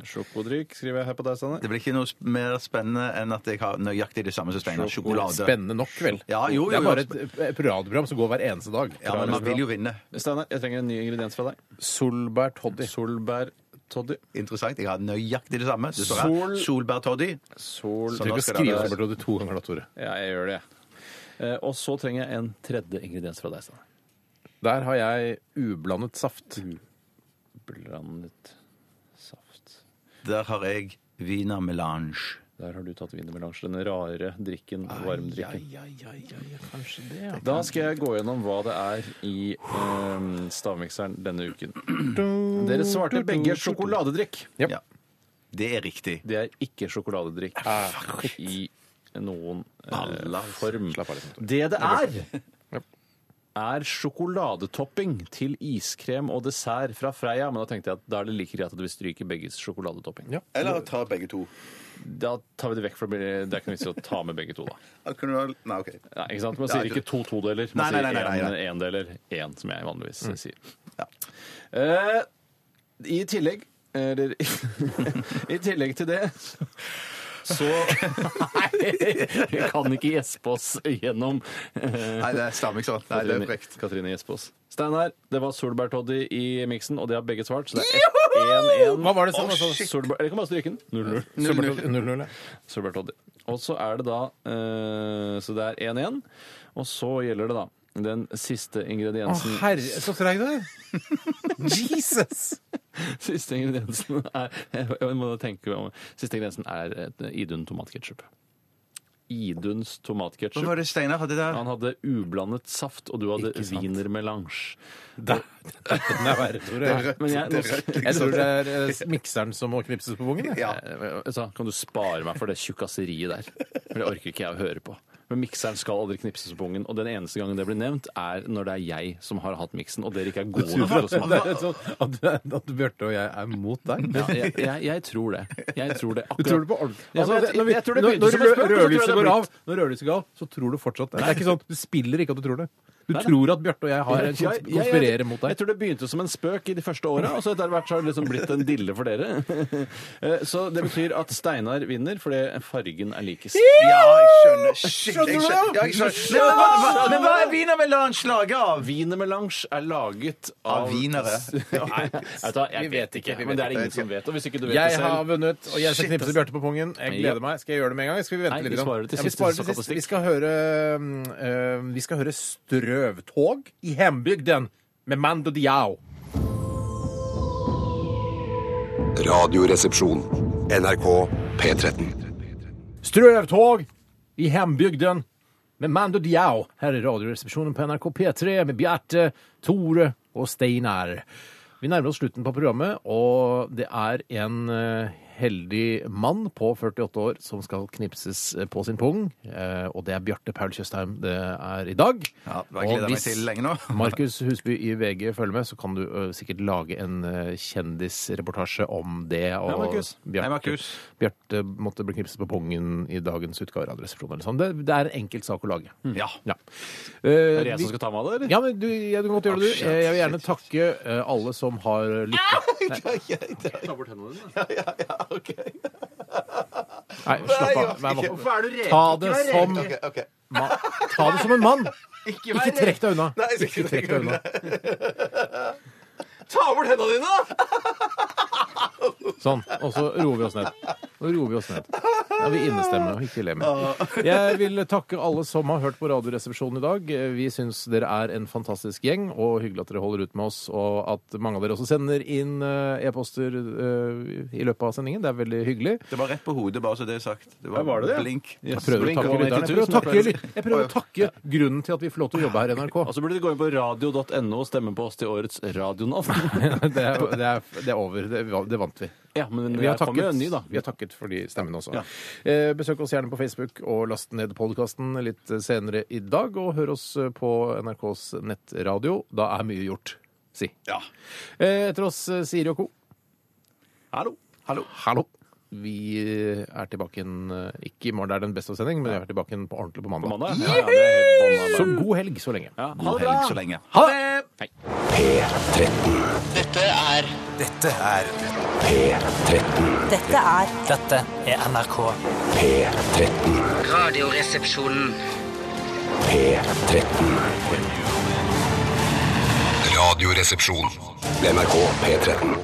Sjokodrikk skriver jeg her på deg, Sanne. Det blir ikke noe sp- mer spennende enn at jeg har nøyaktig det samme som Steinar. Sjokolade. Spennende nok, vel? Ja, jo, jo, det er bare jo. et eh, radioprogram som går hver eneste dag. Ja, men man vil jo vinne. Steinar, jeg trenger en ny ingrediens fra deg. Solbær toddy. Solbær toddy. Interessant. Jeg har nøyaktig det samme. Det står Sol- her. Solbærtoddy. Sol... Du trenger ikke å skrive solbær toddy to ganger, da, Tore. Ja, jeg gjør det. Eh, Og så trenger jeg en tredje ingrediens fra deg, Steinar. Der har jeg ublandet saft. Blandet saft. Der har jeg Wiener Melange. Der har du tatt wienermelange, den rare drikken, varmdrikken. Ja, ja, ja, ja, kanskje det, ja. Da skal jeg gå gjennom hva det er i eh, stavmikseren denne uken. Dere svarte begge sjokoladedrikk. Jep. Ja. Det er riktig. Det er ikke sjokoladedrikk i noen eh, form. Det det er, er sjokoladetopping til iskrem og dessert fra Freia. Men da tenkte jeg at da er det like greit at vi stryker begges sjokoladetopping. Ja. Eller tar begge to. Da tar vi det vekk, for det blir- det er ikke noe vits i å ta med begge to, da. Ja, kunne du ha- Nei, OK. Nei, ikke sant? Man sier ikke to todeler, man Nei, nei, nei, nei, sier nei. én deler. Én, som jeg vanligvis sier. Eh, I tillegg eller, I tillegg til det så [LAUGHS] Nei, vi kan ikke gjespe oss gjennom eh, Nei, det stemmer ikke sånn. Nei, det er frekt. Katrine Gjespaas. Steinar, det var solbærtoddy i miksen, og det har begge svart. Så det er 1-1. Hva var det som var sånn? Solbær... Dere kan bare stryke den. 0-0. Solbær toddy- 0-0, ja. Solbjørn Toddy. Og så er det da eh, Så det er 1-1. Og så gjelder det da den siste ingrediensen. herre, så treig du er! Jesus! [LAUGHS] Siste ingrediensen er jeg må tenke meg om. Siste ingrediensen er et Idun tomatketchup. Iduns Hva var tomatketchup. det Steinar hadde der? Han hadde ublandet saft, og du hadde Ikke sant. wienermelange. Der. Den er verre, Tore. Men jeg, nå, Jeg tror det liksom. er eh, mikseren som må knipses på vungen. jeg. Ja. altså, kan du spare meg for det tjukkaseriet der? For det orker ikke jeg å høre på. Men mikseren skal aldri knipses på ungen, og den eneste gangen det blir nevnt, er når det er jeg som har hatt miksen, og dere ikke er gode [LAUGHS] nok til å Det smake. er sånn at, at Bjarte og jeg er mot deg. Ja, jeg, jeg, jeg tror det. Jeg tror det Du akkurat. tror det på ordentlig? Ja, Altså, men det- jeg- når vi- jeg tror det når- begynte som et når spøk, og så tror jeg rødlyset det går har av, når rødlyset går av, så tror du fortsatt det. Det er ikke sånn, Du spiller ikke at du tror det. Du Nei, nei. tror at Bjarte og jeg har en Jeg- jeg- kons- konspirerer mot Jeg deg. tror det begynte som en spøk i de første åra, og så etter hvert så har det liksom blitt en dille for dere. [LAUGHS] Eh, Så det betyr at Steinar vinner fordi fargen er likest. Ja, jeg skjønner. Shit, jeg skjønner. Ja, jeg skjønner. Men hva- hva- Men hva er Wiener Melange laget av? Wienermelange er laget av Av wienere. [LAUGHS] Nei, vet du hva, jeg vet ikke, men det er det ingen som vet. Og hvis ikke du vet det Jeg har selv altså. vunnet, og jeg skal Shit, knipse ass. Bjarte på pungen. Jeg Ja. gleder meg. Skal jeg gjøre det med en gang? Skal vi vente Nei, litt? vi grann? sparer det til Ja, sist, vi, sparer så det til statistikk. sist. vi skal høre um, um, Vi skal høre Strøvtog i hjembygden med Mando Diao. Radioresepsjon. NRK P13. Strøvtog i hembygden med Mando Diao her i Radioresepsjonen på NRK P3 med Bjarte, Tore og Steinar. Vi nærmer oss slutten på programmet, og det er en eh, heldig mann på 48 år som skal knipses på sin pung. Eh, og det er Bjarte Paul Tjøstheim det er i dag. Ja, det har jeg Og gledet meg hvis til lenge nå. [LAUGHS] Markus Husby i VG følger med, så kan du ø, sikkert lage en ø, kjendisreportasje om det. Og Hei, Markus. Hei, Bjarte, Markus. Bjarte måtte bli knipset på pungen i dagens utgave av Radioresepsjonen. eller sånn. Det, det er en enkelt sak å lage. Ja. Ja. Eh, Er Mm. det jeg som skal ta meg av det, eller? Ja, men du, ja, du kan godt gjøre det, du. Eh, Jeg vil gjerne takke eh, alle som har lyttet. Ta bort hendene dine. Nei, slapp av. Vær voksen. Hvorfor er du redd? Ta det som ok. ma- Ta det som en [LAUGHS] mann! Ikke trekk deg unna. Nei, jeg Ikke skal ikke trekk deg unna. Ta bort hendene dine! Sånn. Og så roer vi oss ned. Nå roer vi oss ned. Da er vi innestemme og ikke le mer. Jeg vil takke alle som har hørt på Radioresepsjonen i dag. Vi syns dere er en fantastisk gjeng, og hyggelig at dere holder ut med oss, og at mange av dere også sender inn eh, e-poster eh, i løpet av sendingen. Det er veldig hyggelig. Det var rett på hodet, bare så det er sagt. Det var, Ja, var det det? blink. Jeg prøver, å takke lytterne. jeg, prøver å takke, lyt- jeg prøver å takke grunnen til at vi får lov til å jobbe her i NRK. Og så burde du gå inn på radio.no og stemme på oss til årets [LAUGHS] radionavn. [LAUGHS] Det er, det er, det er over. Det, det vant vi. Ja, men Vi har, jeg kommer takket, jo en ny, da. vi har takket for de stemmene også. Eh, besøk oss gjerne på Facebook og last ned podkasten litt senere i dag. Og hør oss på NRKs nettradio. Da er mye gjort, si. Eh, etter oss eh, Siri og co. Hallo. Hallo. Vi er tilbake igjen eh, ikke i morgen, det er den beste sending, men vi er tilbake igjen på ordentlig på mandag. Mandag. Ja, ja, det er helt bånn av Så det. god helg så lenge. Ja, ha God det bra! helg så lenge. Ha det! Dette er Dette er Dette er Dette er NRK. Radioresepsjonen. Radioresepsjon. NRK P13.